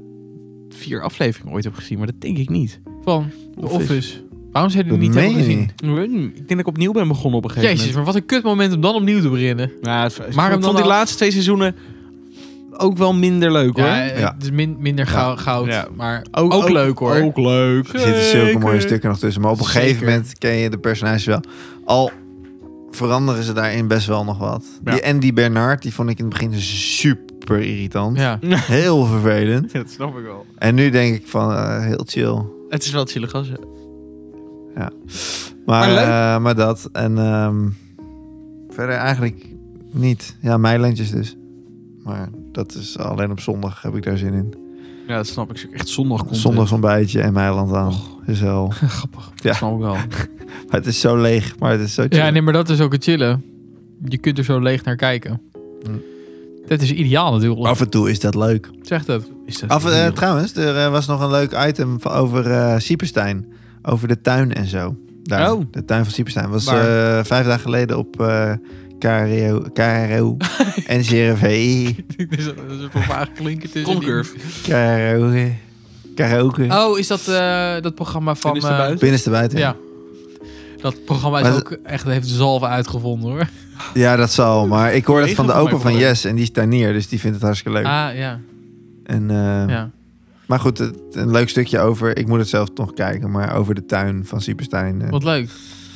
Speaker 1: vier afleveringen ooit heb gezien, maar dat denk ik niet.
Speaker 2: Van The
Speaker 1: Office.
Speaker 2: Office. Waarom zijn die
Speaker 3: Dat
Speaker 2: niet
Speaker 3: meen
Speaker 2: hebben
Speaker 3: je
Speaker 2: gezien?
Speaker 3: niet.
Speaker 1: Ik denk dat ik opnieuw ben begonnen op een gegeven
Speaker 2: Jezus, maar wat een kut moment om dan opnieuw te beginnen.
Speaker 1: moment. Ja, het- ik
Speaker 2: hem
Speaker 1: vond,
Speaker 2: dan
Speaker 1: vond die
Speaker 2: af.
Speaker 1: laatste twee seizoenen ook wel minder leuk hoor.
Speaker 2: Ja, eh,
Speaker 3: Ja.
Speaker 2: het is min- minder gauw goud.
Speaker 1: Ja.
Speaker 2: Maar ook, leuk hoor.
Speaker 1: Ook leuk.
Speaker 3: Er zitten zulke mooie stukken nog tussen. Maar op een
Speaker 2: Zeker.
Speaker 3: gegeven moment ken je de personages wel. Al veranderen ze daarin best wel nog wat.
Speaker 1: Ja.
Speaker 3: Die Andy Bernard, die vond ik in het begin super irritant.
Speaker 2: Ja.
Speaker 3: <laughs> Heel vervelend.
Speaker 1: <laughs> Dat snap ik wel.
Speaker 3: En nu denk ik van, eh, heel chill.
Speaker 1: Het is wel chillig als hè.
Speaker 3: Maar,
Speaker 1: Maar leuk.
Speaker 3: eh, maar dat. En ehm, verder eigenlijk niet. Ja, Meilandjes dus. Maar dat is alleen op zondag heb ik daar zin in.
Speaker 1: Ja, dat snap ik. Het is ook Echt zondag komt
Speaker 3: Zondags ontbijtje en Meiland aan. Is wel. <laughs>
Speaker 1: Grappig.
Speaker 3: Ja.
Speaker 1: Dat snap ik wel.
Speaker 3: Maar het is zo leeg, maar het is zo chill.
Speaker 2: ja, nee, maar dat is ook het chillen. Je kunt er zo leeg naar kijken.
Speaker 3: Hm.
Speaker 2: Dat is ideaal natuurlijk.
Speaker 3: Af en toe is dat leuk.
Speaker 2: Zeg dat.
Speaker 1: Is dat
Speaker 3: Af, eh,
Speaker 1: heel-
Speaker 3: trouwens, er eh, was nog een leuk item van- over eh Siepenstein. Over de tuin en zo. Daar,
Speaker 1: Oh.
Speaker 3: De tuin van Siepenstein. was eh,
Speaker 2: Waar?
Speaker 3: vijf dagen geleden op eh KRO,
Speaker 2: <laughs>
Speaker 3: KRO NCRV,
Speaker 2: dat is dat is een vervaagd klinken tussen. die-
Speaker 4: Concurve.
Speaker 3: karaoke, karaoke,
Speaker 2: Oh, is dat eh, dat programma van...
Speaker 1: Binnenste
Speaker 2: eh,
Speaker 1: buiten?
Speaker 3: binnenste buiten.
Speaker 2: ja. Dat programma is
Speaker 3: Maar
Speaker 2: ook echt, heeft zalven uitgevonden hoor.
Speaker 3: Ja, dat zal. Maar ik hoor het van de
Speaker 1: Collega
Speaker 3: opa
Speaker 1: van
Speaker 3: van
Speaker 1: mij
Speaker 3: Yes en die is tuinier, dus die vindt het hartstikke leuk.
Speaker 2: Ah, ja.
Speaker 3: En, eh,
Speaker 2: ja.
Speaker 3: Maar goed, het- een leuk stukje over, ik moet het zelf nog kijken, maar over de tuin van Siepenstein. eh.
Speaker 2: Wat leuk.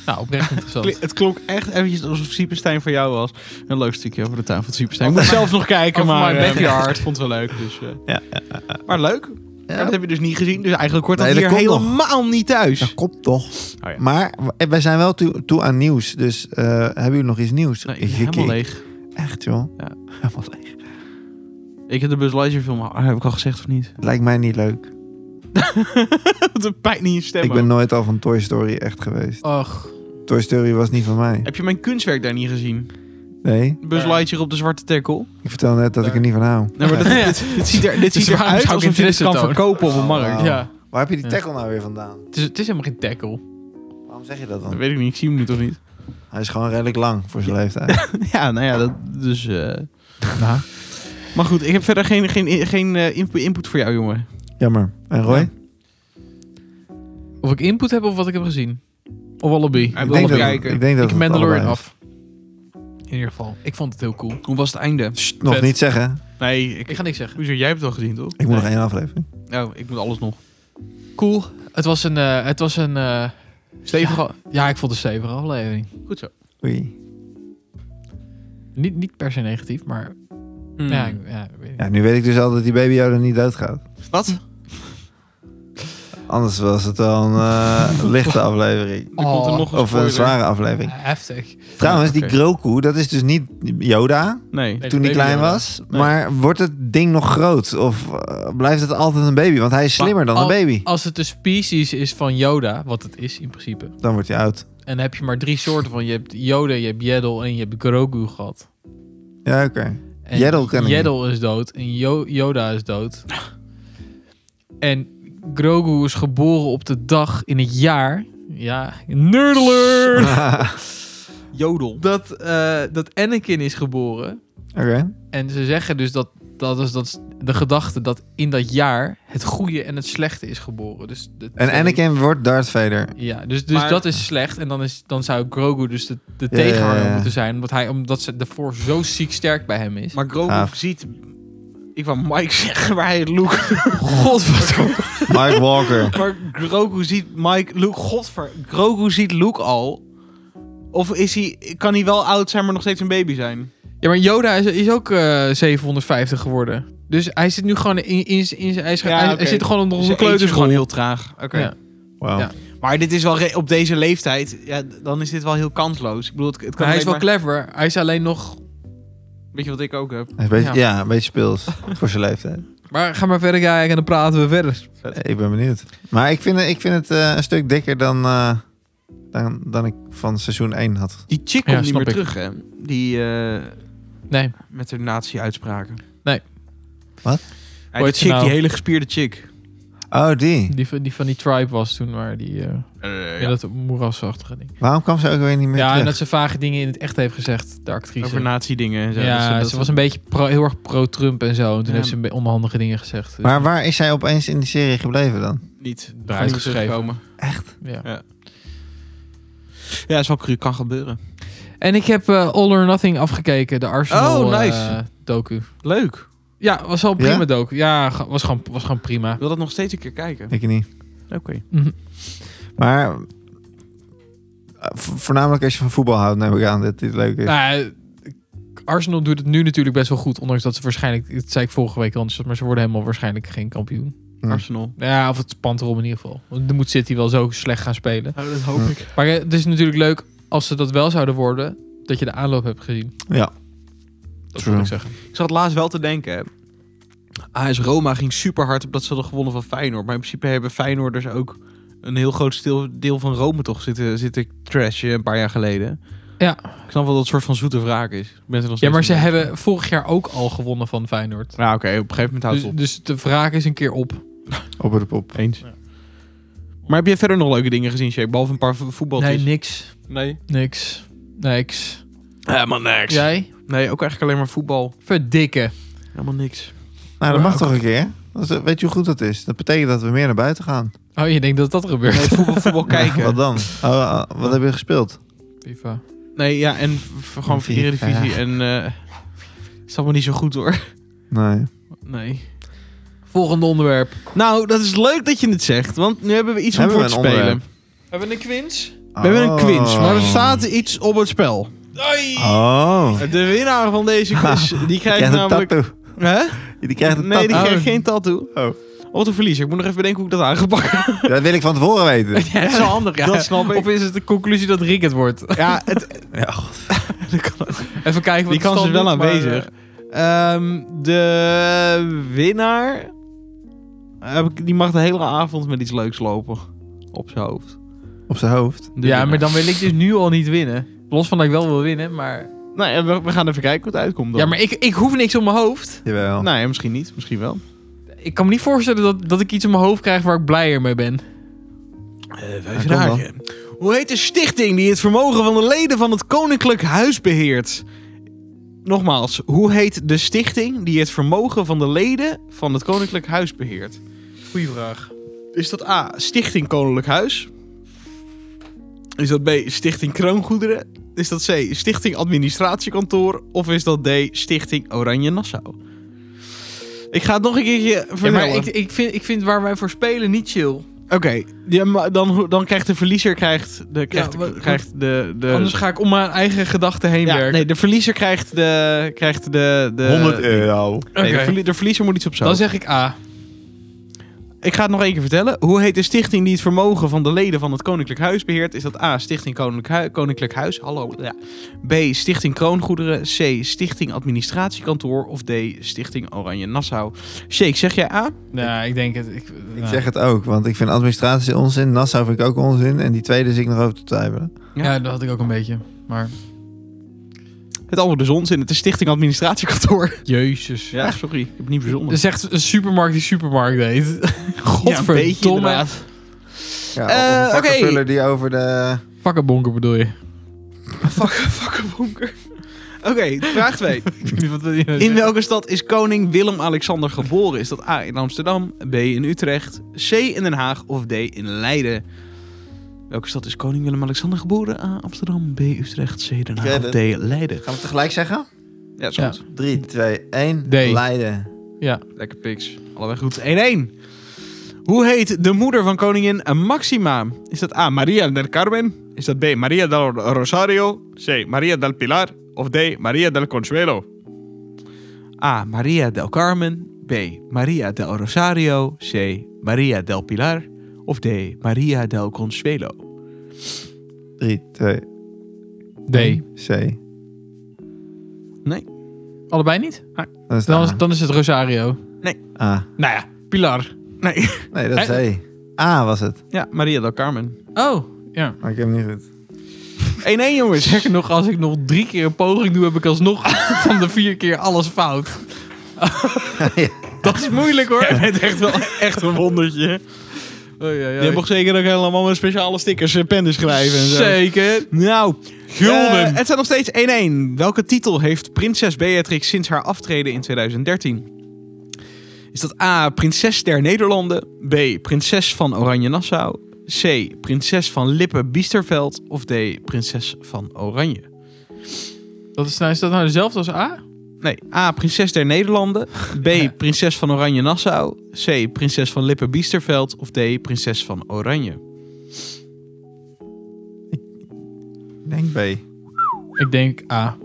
Speaker 2: Nou, oprecht
Speaker 1: Kli-
Speaker 2: interessant.
Speaker 1: Het klonk echt eventjes alsof Siepenstein voor jou was. Een leuk stukje over de tuin van Siepenstein. Ik moet zelf nog kijken,
Speaker 2: over
Speaker 1: maar...
Speaker 2: mijn
Speaker 1: eh, <laughs>
Speaker 2: backyard.
Speaker 1: ik vond het wel leuk, dus... eh.
Speaker 3: Ja,
Speaker 1: Maar leuk. Maar dat heb je dus niet gezien. Dus eigenlijk hoort dat
Speaker 3: Nee, dat
Speaker 1: hier
Speaker 3: komt nog.
Speaker 1: helemaal niet thuis.
Speaker 3: Dat komt toch.
Speaker 1: Oh ja.
Speaker 3: Maar w- wij zijn wel toe, toe aan nieuws, dus eh, hebben jullie nog iets nieuws?
Speaker 1: Nee, ik ben helemaal
Speaker 3: gekeken?
Speaker 1: leeg.
Speaker 3: Echt joh?
Speaker 1: Ja.
Speaker 3: Helemaal leeg.
Speaker 1: Ik heb de Buzz Lightyear film... al- Heb ik al gezegd of niet?
Speaker 3: Lijkt mij niet leuk.
Speaker 1: Wat een pijn in je stem.
Speaker 3: Ik ben nooit al van Toy Story echt geweest.
Speaker 2: Och,
Speaker 3: Toy Story was niet van mij.
Speaker 1: Heb je mijn kunstwerk daar niet gezien?
Speaker 3: Nee,
Speaker 1: Buzz
Speaker 2: Waar?
Speaker 1: Lightyear op de zwarte tackle? Dus
Speaker 3: ik vertel net dat ik er niet van hou.
Speaker 1: Nee, <laughs> maar dat, dit, dit ziet <laughs> er, dit ziet
Speaker 2: waarom
Speaker 1: eruit alsof
Speaker 2: zou ik
Speaker 1: je dit
Speaker 2: interesse
Speaker 1: kan
Speaker 2: tonen?
Speaker 1: verkopen op een markt.
Speaker 3: Oh.
Speaker 2: ja.
Speaker 3: <laughs> Waar heb je die
Speaker 2: Ja.
Speaker 3: tackle nou weer vandaan?
Speaker 2: Het is, het is helemaal geen tackle.
Speaker 3: Waarom zeg je dat
Speaker 1: Dat
Speaker 3: dan?
Speaker 1: weet ik niet, ik zie hem nu toch niet?
Speaker 3: Hij is gewoon redelijk lang voor
Speaker 1: <laughs>
Speaker 3: zijn leeftijd.
Speaker 1: Ja, nou ja, dat, dus... eh,
Speaker 2: Nou.
Speaker 1: Maar goed, ik heb verder geen, geen, geen eh, input, input voor jou, jongen.
Speaker 3: Jammer. En Roy?
Speaker 2: Ja. Of ik input heb of wat ik heb gezien. Of allebei.
Speaker 1: Hij wil
Speaker 3: Ik, denk
Speaker 1: nog
Speaker 3: dat,
Speaker 1: kijken.
Speaker 3: ik denk dat
Speaker 2: Ik
Speaker 3: het
Speaker 2: Mandalorian
Speaker 3: allebei is.
Speaker 2: af. In ieder geval. Ik vond het heel cool.
Speaker 1: Hoe was het einde?
Speaker 3: Sst, nog
Speaker 2: Vet.
Speaker 3: niet zeggen.
Speaker 1: Nee, ik,
Speaker 2: Ik ga niks zeggen.
Speaker 1: Hoezo, jij hebt het al gezien, toch?
Speaker 3: Ik moet nog één aflevering.
Speaker 1: Oh, ik moet alles nog.
Speaker 2: Cool. Het was een... eh, het was een eh, stevige... Ja. ik vond het een stevige aflevering.
Speaker 1: Goed zo.
Speaker 3: Oei.
Speaker 2: Niet, niet per se negatief, maar...
Speaker 1: Hmm.
Speaker 2: Ja, ik- ja, ik weet niet.
Speaker 3: Ja, nu weet ik dus al dat die baby Yoda niet doodgaat.
Speaker 1: Wat?
Speaker 3: Anders was het wel een eh, <laughs> lichte aflevering.
Speaker 1: Er komt er nog een
Speaker 3: Oh. Of eh,
Speaker 1: spoiler.
Speaker 3: een zware aflevering.
Speaker 2: Eh, Heftig.
Speaker 3: Trouwens, die
Speaker 2: Oké.
Speaker 3: Groku, dat is dus niet Yoda
Speaker 1: Nee.
Speaker 2: Nee,
Speaker 3: toen
Speaker 2: de
Speaker 3: hij
Speaker 2: baby
Speaker 3: klein
Speaker 2: Yoda.
Speaker 3: was.
Speaker 1: Nee.
Speaker 3: Maar wordt het ding nog groot? Of eh, blijft het altijd een baby? Want hij is slimmer dan
Speaker 2: al-
Speaker 3: een baby.
Speaker 2: Als het de species is van Yoda, wat het is in principe...
Speaker 3: Dan wordt hij oud.
Speaker 2: En dan heb je maar drie soorten van. Je hebt Yoda, je hebt Jeddel en je hebt Grogu gehad.
Speaker 3: Ja, oké. <laughs>
Speaker 2: En
Speaker 3: Yaddle ken ik
Speaker 2: Yaddle is dood en Yo- Yoda is dood. en Grogu is geboren op de dag in het jaar... Ja, nerdler!
Speaker 1: Jodel.
Speaker 2: dat, eh, dat Anakin is geboren.
Speaker 3: Oké.
Speaker 2: En ze zeggen dus dat, dat, is, dat is de gedachte dat in dat jaar het goede en het slechte is geboren. Dus de
Speaker 3: En
Speaker 2: twee-
Speaker 3: Anakin wordt Darth Vader.
Speaker 2: Ja, dus, dus
Speaker 1: Maar-
Speaker 2: dat is slecht. En dan, is, dan zou Grogu dus de, de
Speaker 3: Ja,
Speaker 2: tegenhanger
Speaker 3: ja, ja.
Speaker 2: moeten zijn. Omdat, hij, omdat ze ervoor zo ziek sterk bij hem is.
Speaker 1: Maar Grogu
Speaker 3: Gaaf.
Speaker 1: ziet... Ik wou Mike <laughs> zeggen, maar hij heet
Speaker 3: <laughs>
Speaker 1: Luke.
Speaker 2: godverdomme.
Speaker 3: Mike Walker.
Speaker 1: Maar Grogu ziet Mike... Luke, godver... Grogu ziet Luke al. Of is hij, kan hij wel oud zijn, maar nog steeds een baby zijn?
Speaker 2: Ja, maar Yoda is, is ook eh, 750 geworden. Dus hij zit nu gewoon in, in, z- in zijn... Hij, is-
Speaker 1: Ja,
Speaker 2: hij,
Speaker 1: oké.
Speaker 2: hij zit gewoon op
Speaker 1: Zijn
Speaker 2: een
Speaker 1: eentje is
Speaker 2: kleuterschool.
Speaker 1: gewoon heel traag. Oké.
Speaker 2: Ja.
Speaker 3: Wow.
Speaker 2: Ja.
Speaker 1: Maar dit is wel re- op deze leeftijd, ja, d- dan is dit wel heel kansloos. Ik bedoel, het, het kan
Speaker 2: Maar hij is wel
Speaker 1: alleen
Speaker 2: clever. Hij is alleen nog...
Speaker 1: maar- Weet je wat ik ook heb?
Speaker 3: Een beetje,
Speaker 2: Ja.
Speaker 3: ja. een beetje speels. voor zijn leeftijd.
Speaker 2: Maar ga maar verder kijken en dan praten we verder.
Speaker 3: Ik ben benieuwd. Maar ik vind, ik vind het eh, een stuk dikker dan, eh, dan, dan ik van seizoen 1 had.
Speaker 1: Die chick
Speaker 2: Ja,
Speaker 1: komt niet
Speaker 2: snap
Speaker 1: meer
Speaker 2: ik.
Speaker 1: terug, hè? Die eh,
Speaker 2: Nee.
Speaker 1: met haar nazi-uitspraken.
Speaker 2: Nee.
Speaker 3: Wat?
Speaker 1: Ja,
Speaker 2: Hoe
Speaker 1: die
Speaker 2: heet ze
Speaker 1: chick,
Speaker 2: nou?
Speaker 1: die hele gespierde chick.
Speaker 3: Oh, die.
Speaker 2: Die, van- die van die tribe was toen, maar die... eh, ja.
Speaker 1: ja.
Speaker 2: dat moerasachtige ding.
Speaker 3: Waarom kwam ze ook weer niet meer
Speaker 2: Ja, en
Speaker 3: terug?
Speaker 2: dat ze vage dingen in het echt heeft gezegd, de actrice.
Speaker 1: Over nazi-dingen en zo. Dat
Speaker 2: ja,
Speaker 1: dat
Speaker 2: ze was een beetje pro- heel erg pro-Trump en zo. En toen
Speaker 1: Ja.
Speaker 2: heeft ze een beetje onhandige dingen gezegd. Dus
Speaker 3: Maar waar is zij opeens in die serie gebleven dan?
Speaker 1: niet
Speaker 2: eruit geschreven.
Speaker 1: teruggekomen.
Speaker 2: ja.
Speaker 1: Ja, is wel cru, kan gebeuren.
Speaker 2: En ik heb eh, All or Nothing afgekeken, de Arsenal
Speaker 1: Oh,
Speaker 2: oh,
Speaker 1: nice.
Speaker 2: docu.
Speaker 1: Leuk.
Speaker 2: Ja, was wel een prima
Speaker 3: Ja?
Speaker 2: docu. Ja, ge- was gewoon, was gewoon prima.
Speaker 1: Ik wil dat nog steeds een keer kijken.
Speaker 3: Ik niet.
Speaker 1: Oké.
Speaker 3: Maar eh, vo- voornamelijk als je van voetbal houdt, neem ik aan dat dit leuk is.
Speaker 2: Nou, eh, Arsenal doet het nu natuurlijk best wel goed. Ondanks dat ze waarschijnlijk, dat zei ik vorige week al, anders, maar ze worden helemaal waarschijnlijk geen kampioen.
Speaker 3: Hm.
Speaker 1: Arsenal.
Speaker 2: Ja, of het pand erom in ieder geval. Want dan moet City wel zo slecht gaan spelen.
Speaker 1: Oh, dat hoop
Speaker 3: Hm.
Speaker 1: ik.
Speaker 2: Maar eh, het is natuurlijk leuk als ze dat wel zouden worden, dat je de aanloop hebt gezien.
Speaker 3: Ja.
Speaker 2: Dat
Speaker 3: True.
Speaker 2: wil ik zeggen.
Speaker 1: Ik zat laatst wel te denken. hè. AS Roma ging super hard op dat ze hadden gewonnen van Feyenoord. Maar in principe hebben Feyenoorders ook een heel groot stil- deel van Rome toch zitten, zitten trashen een paar jaar geleden.
Speaker 2: Ja.
Speaker 1: Ik snap wel dat het een soort van zoete wraak is. Ik ben er nog
Speaker 2: Ja,
Speaker 1: steeds
Speaker 2: maar ze
Speaker 1: niet-
Speaker 2: hebben vorig jaar ook al gewonnen van Feyenoord.
Speaker 1: Nou oké, op een gegeven moment houdt
Speaker 2: Dus,
Speaker 1: het op.
Speaker 2: dus de vraag is een keer op.
Speaker 3: Op de pop.
Speaker 1: Eens. Maar heb je verder nog leuke dingen gezien, Shake? Behalve een paar vo- voetbaltjes?
Speaker 2: Nee, niks.
Speaker 1: nee.
Speaker 2: Niks. Niks.
Speaker 1: Helemaal niks.
Speaker 2: Jij?
Speaker 1: Nee, ook eigenlijk alleen maar voetbal.
Speaker 2: Verdikken.
Speaker 1: Helemaal niks.
Speaker 3: Nou, dat
Speaker 2: Maar
Speaker 3: mag
Speaker 2: ook-
Speaker 3: toch een keer? Dat is- eh, weet je hoe goed dat is? Dat betekent dat we meer naar buiten gaan.
Speaker 2: Oh, je denkt dat dat gebeurt?
Speaker 1: Nee, voetbal,
Speaker 2: <laughs>
Speaker 1: voetbal kijken.
Speaker 3: <laughs> Wat dan? Oh, oh, wat heb je gespeeld?
Speaker 2: FIFA.
Speaker 1: Nee, ja, en v- gewoon voor Eredivisie. En eh is allemaal niet zo goed, hoor.
Speaker 3: Nee.
Speaker 1: Nee.
Speaker 2: Volgende onderwerp.
Speaker 1: Nou, dat is leuk dat je het zegt, want nu hebben we iets om
Speaker 3: Hebben
Speaker 1: voor
Speaker 3: we
Speaker 1: te
Speaker 3: een
Speaker 1: spelen.
Speaker 3: onderwerp?
Speaker 2: Hebben we een quins?
Speaker 1: We hebben een quiz, maar er
Speaker 3: Oh.
Speaker 1: staat iets op het spel.
Speaker 3: Oh.
Speaker 1: De winnaar van
Speaker 3: <laughs>
Speaker 1: deze quiz, die
Speaker 3: Die
Speaker 1: krijgt
Speaker 3: krijgt een
Speaker 1: namelijk...
Speaker 3: tattoo.
Speaker 1: Hè?
Speaker 3: Die krijgt een
Speaker 1: Nee, die
Speaker 3: tattoo.
Speaker 1: krijgt geen tattoo.
Speaker 3: Oh.
Speaker 1: Of de verliezer. Ik moet nog even bedenken hoe ik dat aangepakt heb.
Speaker 3: Dat wil ik van tevoren weten.
Speaker 2: <laughs> Ja, dat is wel handig. Ja.
Speaker 1: Dat snap ik.
Speaker 2: Of is het de conclusie dat Rick het
Speaker 1: <laughs>
Speaker 2: wordt?
Speaker 1: Ja, het,
Speaker 3: Ja, god.
Speaker 1: <laughs>
Speaker 2: Even kijken wat
Speaker 1: die
Speaker 2: de
Speaker 1: kans is
Speaker 2: stand
Speaker 1: wel
Speaker 2: doet, maar,
Speaker 1: aanwezig.
Speaker 2: eh,
Speaker 1: Ehm, de winnaar... eh, heb ik- Die mag de hele avond met iets leuks lopen. Op zijn hoofd.
Speaker 3: Op zijn hoofd.
Speaker 1: De
Speaker 2: ja,
Speaker 1: winnaar.
Speaker 2: maar dan wil ik dus nu al niet winnen. Los van dat ik wel wil winnen, maar...
Speaker 1: Nou, ja, we, we gaan even kijken hoe het uitkomt dan.
Speaker 2: Ja, maar ik, ik hoef niks op mijn hoofd.
Speaker 3: Jawel.
Speaker 1: Nou ja, misschien niet. Misschien wel.
Speaker 2: Ik kan me niet voorstellen dat, dat ik iets op mijn hoofd krijg waar ik blijer mee ben.
Speaker 1: Wij
Speaker 3: kom
Speaker 1: Eh, vragen. Hoe heet de stichting die het vermogen van de leden van het Koninklijk Huis beheert? Nogmaals, hoe heet de stichting die het vermogen van de leden van het Koninklijk Huis beheert?
Speaker 2: Goeie vraag.
Speaker 1: Is dat A, Stichting Koninklijk Huis? Is dat B, Stichting Kroongoederen? Is dat C, Stichting Administratiekantoor? Of is dat D, Stichting Oranje Nassau? Ik ga het nog een keertje
Speaker 2: Ja,
Speaker 1: vertellen.
Speaker 2: maar ik, ik, vind, ik vind waar wij voor spelen niet chill.
Speaker 1: Oké, ja, maar dan, dan krijgt de verliezer krijgt de, krijgt,
Speaker 2: Ja, wa-
Speaker 1: krijgt de, de
Speaker 2: Anders ga ik om mijn eigen gedachten heen
Speaker 1: ja,
Speaker 2: werken.
Speaker 1: nee, de verliezer krijgt de krijgt de, de
Speaker 3: 100 euro.
Speaker 1: Nee, de,
Speaker 2: Oké.
Speaker 1: verlie- de verliezer moet iets op
Speaker 2: Dan
Speaker 1: zout.
Speaker 2: zeg ik A.
Speaker 1: Ik ga het nog één keer vertellen. Hoe heet de stichting die het vermogen van de leden van het Koninklijk Huis beheert? Is dat A, Stichting Koninklijk, Hui- Koninklijk Huis? Hallo. Ja. B, Stichting Kroongoederen. C, Stichting Administratiekantoor. Of D, Stichting Oranje Nassau. Shake, zeg jij A?
Speaker 2: Nou, ik denk het. Ik,
Speaker 3: Ik zeg het ook, want ik vind administratie onzin. Nassau vind ik ook onzin. En die tweede zit ik nog over te twijfelen.
Speaker 2: ja. dat had ik ook een beetje. Maar...
Speaker 1: Het antwoord is onzin. Het is Stichting Administratiekantoor. <laughs>
Speaker 2: Jezus.
Speaker 1: Ja, sorry. Ik heb het niet verzonnen.
Speaker 2: Dat is echt een supermarkt die supermarkt heet.
Speaker 1: Ja, een beetje
Speaker 2: Godverdomme.
Speaker 1: inderdaad.
Speaker 3: Ja,
Speaker 1: Eh,
Speaker 3: of een
Speaker 1: oké.
Speaker 3: vakkenvuller die over de...
Speaker 2: Vakkenbonken bedoel je?
Speaker 1: Vakkenbonker. Oké, vraag 2.
Speaker 2: Ik weet niet wat wil je nou
Speaker 1: In
Speaker 2: zeggen.
Speaker 1: welke stad is koning Willem-Alexander geboren? Is dat A in Amsterdam, B in Utrecht, C in Den Haag of D in Leiden? Welke stad is koning Willem-Alexander geboren? A Amsterdam, B Utrecht, C Den
Speaker 3: weet
Speaker 1: Haag of
Speaker 3: het.
Speaker 1: D Leiden?
Speaker 3: Gaan we tegelijk zeggen?
Speaker 1: Ja, soms.
Speaker 3: 3, 2, 1.
Speaker 2: D.
Speaker 3: Leiden.
Speaker 2: Ja.
Speaker 1: Lekker piks. Allebei goed. 1-1. Hoe heet de moeder van koningin Maxima? Is dat A. Maria del Carmen? Is dat B. Maria del Rosario? C. Maria del Pilar? Of D. Maria del Consuelo? A. Maria del Carmen. B. Maria del Rosario. C. Maria del Pilar. Of D. Maria del Consuelo?
Speaker 3: 3, 2,
Speaker 2: D.
Speaker 3: C.
Speaker 2: Allebei niet?
Speaker 3: Dan is
Speaker 2: Dan
Speaker 3: dat
Speaker 2: is, dan is het Rosario.
Speaker 3: A.
Speaker 2: Nou ja, Pilar.
Speaker 1: Nee. <laughs>
Speaker 3: Nee, dat is C. A was het.
Speaker 1: Ja, Maria del Carmen.
Speaker 2: Oh, ja.
Speaker 3: Maar ik heb hem niet goed.
Speaker 1: 1-1 jongens.
Speaker 2: Sterker nog, als ik nog drie keer een poging doe, heb ik alsnog van de vier keer alles fout.
Speaker 1: Dat is moeilijk hoor. Het bent echt wel echt een wondertje.
Speaker 2: Oh, ja, ja.
Speaker 1: Je mocht zeker ook helemaal met speciale stickers en pennen schrijven en zo.
Speaker 2: Zeker.
Speaker 1: Nou,
Speaker 2: Gulden.
Speaker 1: eh, het staat nog steeds 1-1. Welke titel heeft prinses Beatrix sinds haar aftreden in 2013? Is dat A. Prinses der Nederlanden? B. Prinses van Oranje-Nassau? C. Prinses van Lippe-Biesterveld? Of D. Prinses van Oranje?
Speaker 2: Dat is, nou, is dat nou dezelfde als A?
Speaker 1: Nee, A. Prinses der Nederlanden? <laughs> B. Prinses van Oranje-Nassau? C. Prinses van Lippe-Biesterveld? Of D. Prinses van Oranje?
Speaker 3: Ik denk B.
Speaker 2: Ik denk A.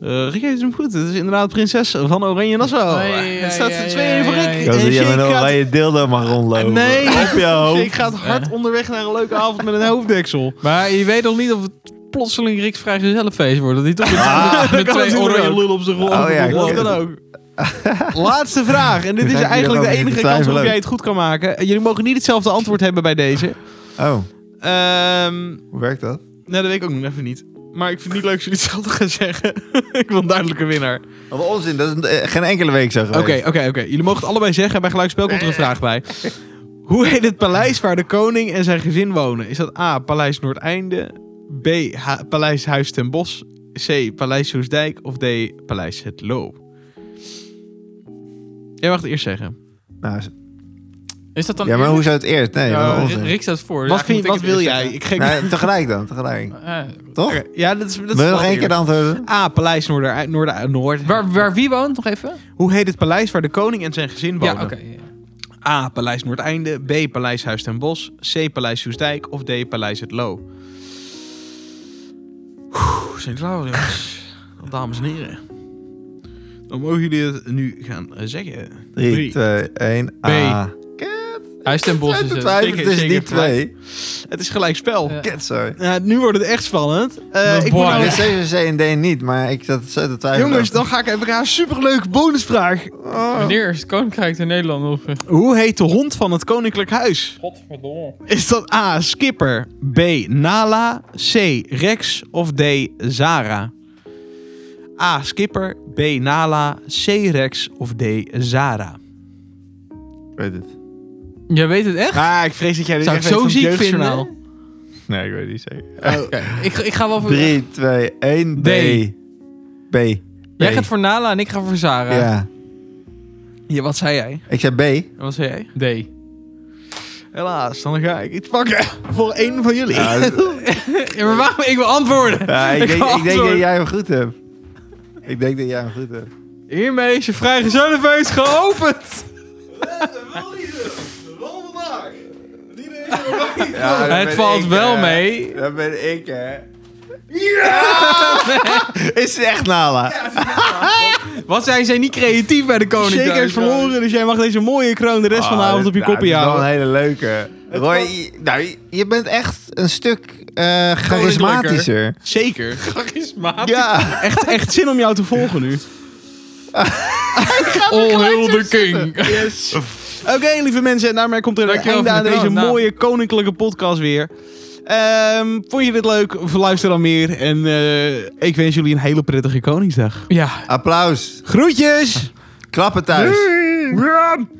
Speaker 1: Eh Rick heeft hem goed. Het is inderdaad prinses van Oranje-Nassau.
Speaker 2: Hey, hey,
Speaker 1: het staat 2-1
Speaker 2: hey,
Speaker 1: voor
Speaker 2: hey,
Speaker 1: Rick.
Speaker 2: hey.
Speaker 3: Ik hoop
Speaker 1: En
Speaker 3: dat jij
Speaker 1: Shake
Speaker 3: met een
Speaker 1: gaat-
Speaker 3: oranje dildo mag rondlopen.
Speaker 1: Nee.
Speaker 3: <laughs> Op je hoofd.
Speaker 1: Ik ga het hard onderweg naar een leuke avond met een
Speaker 2: <laughs>
Speaker 1: hoofddeksel.
Speaker 2: Maar je weet nog niet of het plotseling Riks vrijgezellenfeest wordt. Dat die toch met, met twee
Speaker 1: natuurlijk
Speaker 2: oranje
Speaker 1: ook.
Speaker 2: lullen op zijn rol.
Speaker 3: Oh ja,
Speaker 1: dat
Speaker 3: klopt.
Speaker 1: kan ook.
Speaker 3: <laughs>
Speaker 1: Laatste vraag. En dit
Speaker 3: Dan
Speaker 1: is
Speaker 3: ga ik
Speaker 1: eigenlijk de
Speaker 3: hier ook
Speaker 1: enige
Speaker 3: over
Speaker 1: kans waarop
Speaker 3: twijfelen.
Speaker 1: jij het goed kan maken. Eh, Jullie mogen niet hetzelfde antwoord hebben bij deze.
Speaker 3: Oh,
Speaker 1: Ehm,
Speaker 3: hoe werkt dat?
Speaker 1: nou, dat weet ik ook nog even niet. Maar ik vind het niet leuk als jullie hetzelfde gaan zeggen. <laughs> ik wil een duidelijke winnaar.
Speaker 3: Wat onzin, dat is eh, geen enkele week zo geweest.
Speaker 1: Oké, oké, oké. Jullie mogen het allebei zeggen. en Bij gelijkspel komt er een vraag bij. Hoe heet het paleis waar de koning en zijn gezin wonen? Is dat A. Paleis Noordeinde, B. Ha- Paleis Huis ten Bosch, C. Paleis Soesdijk of D. Paleis Het Loo? Jij mag het eerst zeggen.
Speaker 3: Nou,
Speaker 2: Is dat dan...
Speaker 3: ja, maar hoe zou het eerst? Nee,
Speaker 2: Ja,
Speaker 3: wat een
Speaker 2: Rick-
Speaker 3: onzin.
Speaker 2: Rick staat voor. dus
Speaker 1: wat vind,
Speaker 2: eigenlijk
Speaker 1: wat
Speaker 2: moet ik
Speaker 1: wil jij?
Speaker 2: het
Speaker 1: Ik
Speaker 2: eerst
Speaker 1: geef
Speaker 3: Nee, tegelijk dan, tegelijk.
Speaker 2: zeggen. Eh,
Speaker 3: Toch?
Speaker 1: Oké, Ja, dat is, dat is
Speaker 3: Wil je nog
Speaker 1: wel
Speaker 3: één keer de
Speaker 1: eerlijk.
Speaker 3: antwoorden?
Speaker 1: A. Paleis Noorder, Noorder, Noord.
Speaker 2: waar, waar wie woont? Nog even?
Speaker 1: Hoe heet het paleis waar de koning en zijn gezin wonen?
Speaker 2: Ja, oké. ja.
Speaker 1: A. Paleis Noordeinde, B. Paleis Huis ten Bosch, C. Paleis Soesdijk of D. Paleis Het Loo. Oeh, Zijn klaar, jongens. Dames en heren. Dan mogen jullie het nu gaan eh, zeggen.
Speaker 3: 3, 2, 1, A.
Speaker 2: Huis ten Bosch dus, eh,
Speaker 3: Uit de
Speaker 2: is het.
Speaker 3: twijfel, het
Speaker 1: Zeker,
Speaker 3: is
Speaker 1: zeker
Speaker 3: die twee.
Speaker 1: Het is gelijkspel.
Speaker 2: Ja.
Speaker 3: Kut, sorry.
Speaker 1: Ja, nu wordt het echt spannend. Eh,
Speaker 2: Dat is
Speaker 1: ik moet
Speaker 2: boring.
Speaker 1: nou-
Speaker 2: Ja.
Speaker 3: De CVC en D niet, maar ik Oh. zat zo te twijfelen.
Speaker 1: Jongens, dan ga ik even naar een superleuke bonusvraag.
Speaker 2: Wanneer is het Koninkrijk in Nederland op? eh.
Speaker 1: Hoe heet de hond van het koninklijk huis?
Speaker 2: Godverdomme.
Speaker 1: Is dat A. Skipper, B. Nala, C. Rex of D. Zara? A. Skipper, B. Nala, C. Rex of D. Zara?
Speaker 3: Ik weet het.
Speaker 2: Jij weet het echt?
Speaker 1: Ah, ik vrees dat jij dit
Speaker 2: Zou ik
Speaker 1: echt weet
Speaker 2: zo
Speaker 1: van het
Speaker 2: ziek
Speaker 1: jeugdjournaal. Oh.
Speaker 2: vinden?
Speaker 3: Nee, ik weet het niet zeker.
Speaker 2: Oké, ik, ik ga wel voor...
Speaker 3: 3, 2, 1, D.
Speaker 2: D.
Speaker 3: B.
Speaker 2: Jij
Speaker 3: B.
Speaker 2: gaat voor Nala en ik ga voor Zara.
Speaker 3: Ja.
Speaker 1: Ja, wat zei jij?
Speaker 3: Ik zei B.
Speaker 1: Wat zei jij?
Speaker 2: D.
Speaker 1: Helaas, dan ga ik iets pakken voor één van jullie. <laughs>
Speaker 3: Ja, dat-
Speaker 2: Ja, maar waarom? Ik wil antwoorden.
Speaker 3: ja, ik, denk, ik denk dat
Speaker 2: antwoorden.
Speaker 3: jij hem goed hebt. Ik denk dat jij hem goed hebt.
Speaker 2: Hiermee is je vrijgezellenfeest geopend.
Speaker 3: Ja, dat
Speaker 2: het
Speaker 3: ben
Speaker 2: valt
Speaker 3: ik,
Speaker 2: wel
Speaker 3: eh,
Speaker 2: mee.
Speaker 3: Dat ben ik, hè. Ja! <laughs> Is het echt Nala?
Speaker 2: Wat zijn zij niet creatief bij de koning?
Speaker 1: Zeker heeft verloren, dus jij mag deze mooie kroon de rest van de
Speaker 3: Ah,
Speaker 1: avond op je
Speaker 3: nou,
Speaker 1: koppie
Speaker 3: dat is wel
Speaker 1: houden.
Speaker 3: een hele leuke. Roy, je- nou, je- je bent echt een stuk eh charismatischer.
Speaker 1: Zeker.
Speaker 2: Charismatisch.
Speaker 3: Ja.
Speaker 1: <laughs> Echt, echt zin om jou te volgen nu.
Speaker 2: All hail the king.
Speaker 1: Oké, lieve mensen, en daarmee komt er een
Speaker 2: Dankjewel
Speaker 1: einde
Speaker 2: voor
Speaker 1: aan
Speaker 2: de
Speaker 1: deze
Speaker 2: kroon, nou.
Speaker 1: mooie koninklijke podcast weer. Ehm, vond je dit leuk? Luister dan meer. En eh, ik wens jullie een hele prettige Koningsdag.
Speaker 2: Ja,
Speaker 3: Applaus.
Speaker 1: Groetjes!
Speaker 3: Klappen thuis.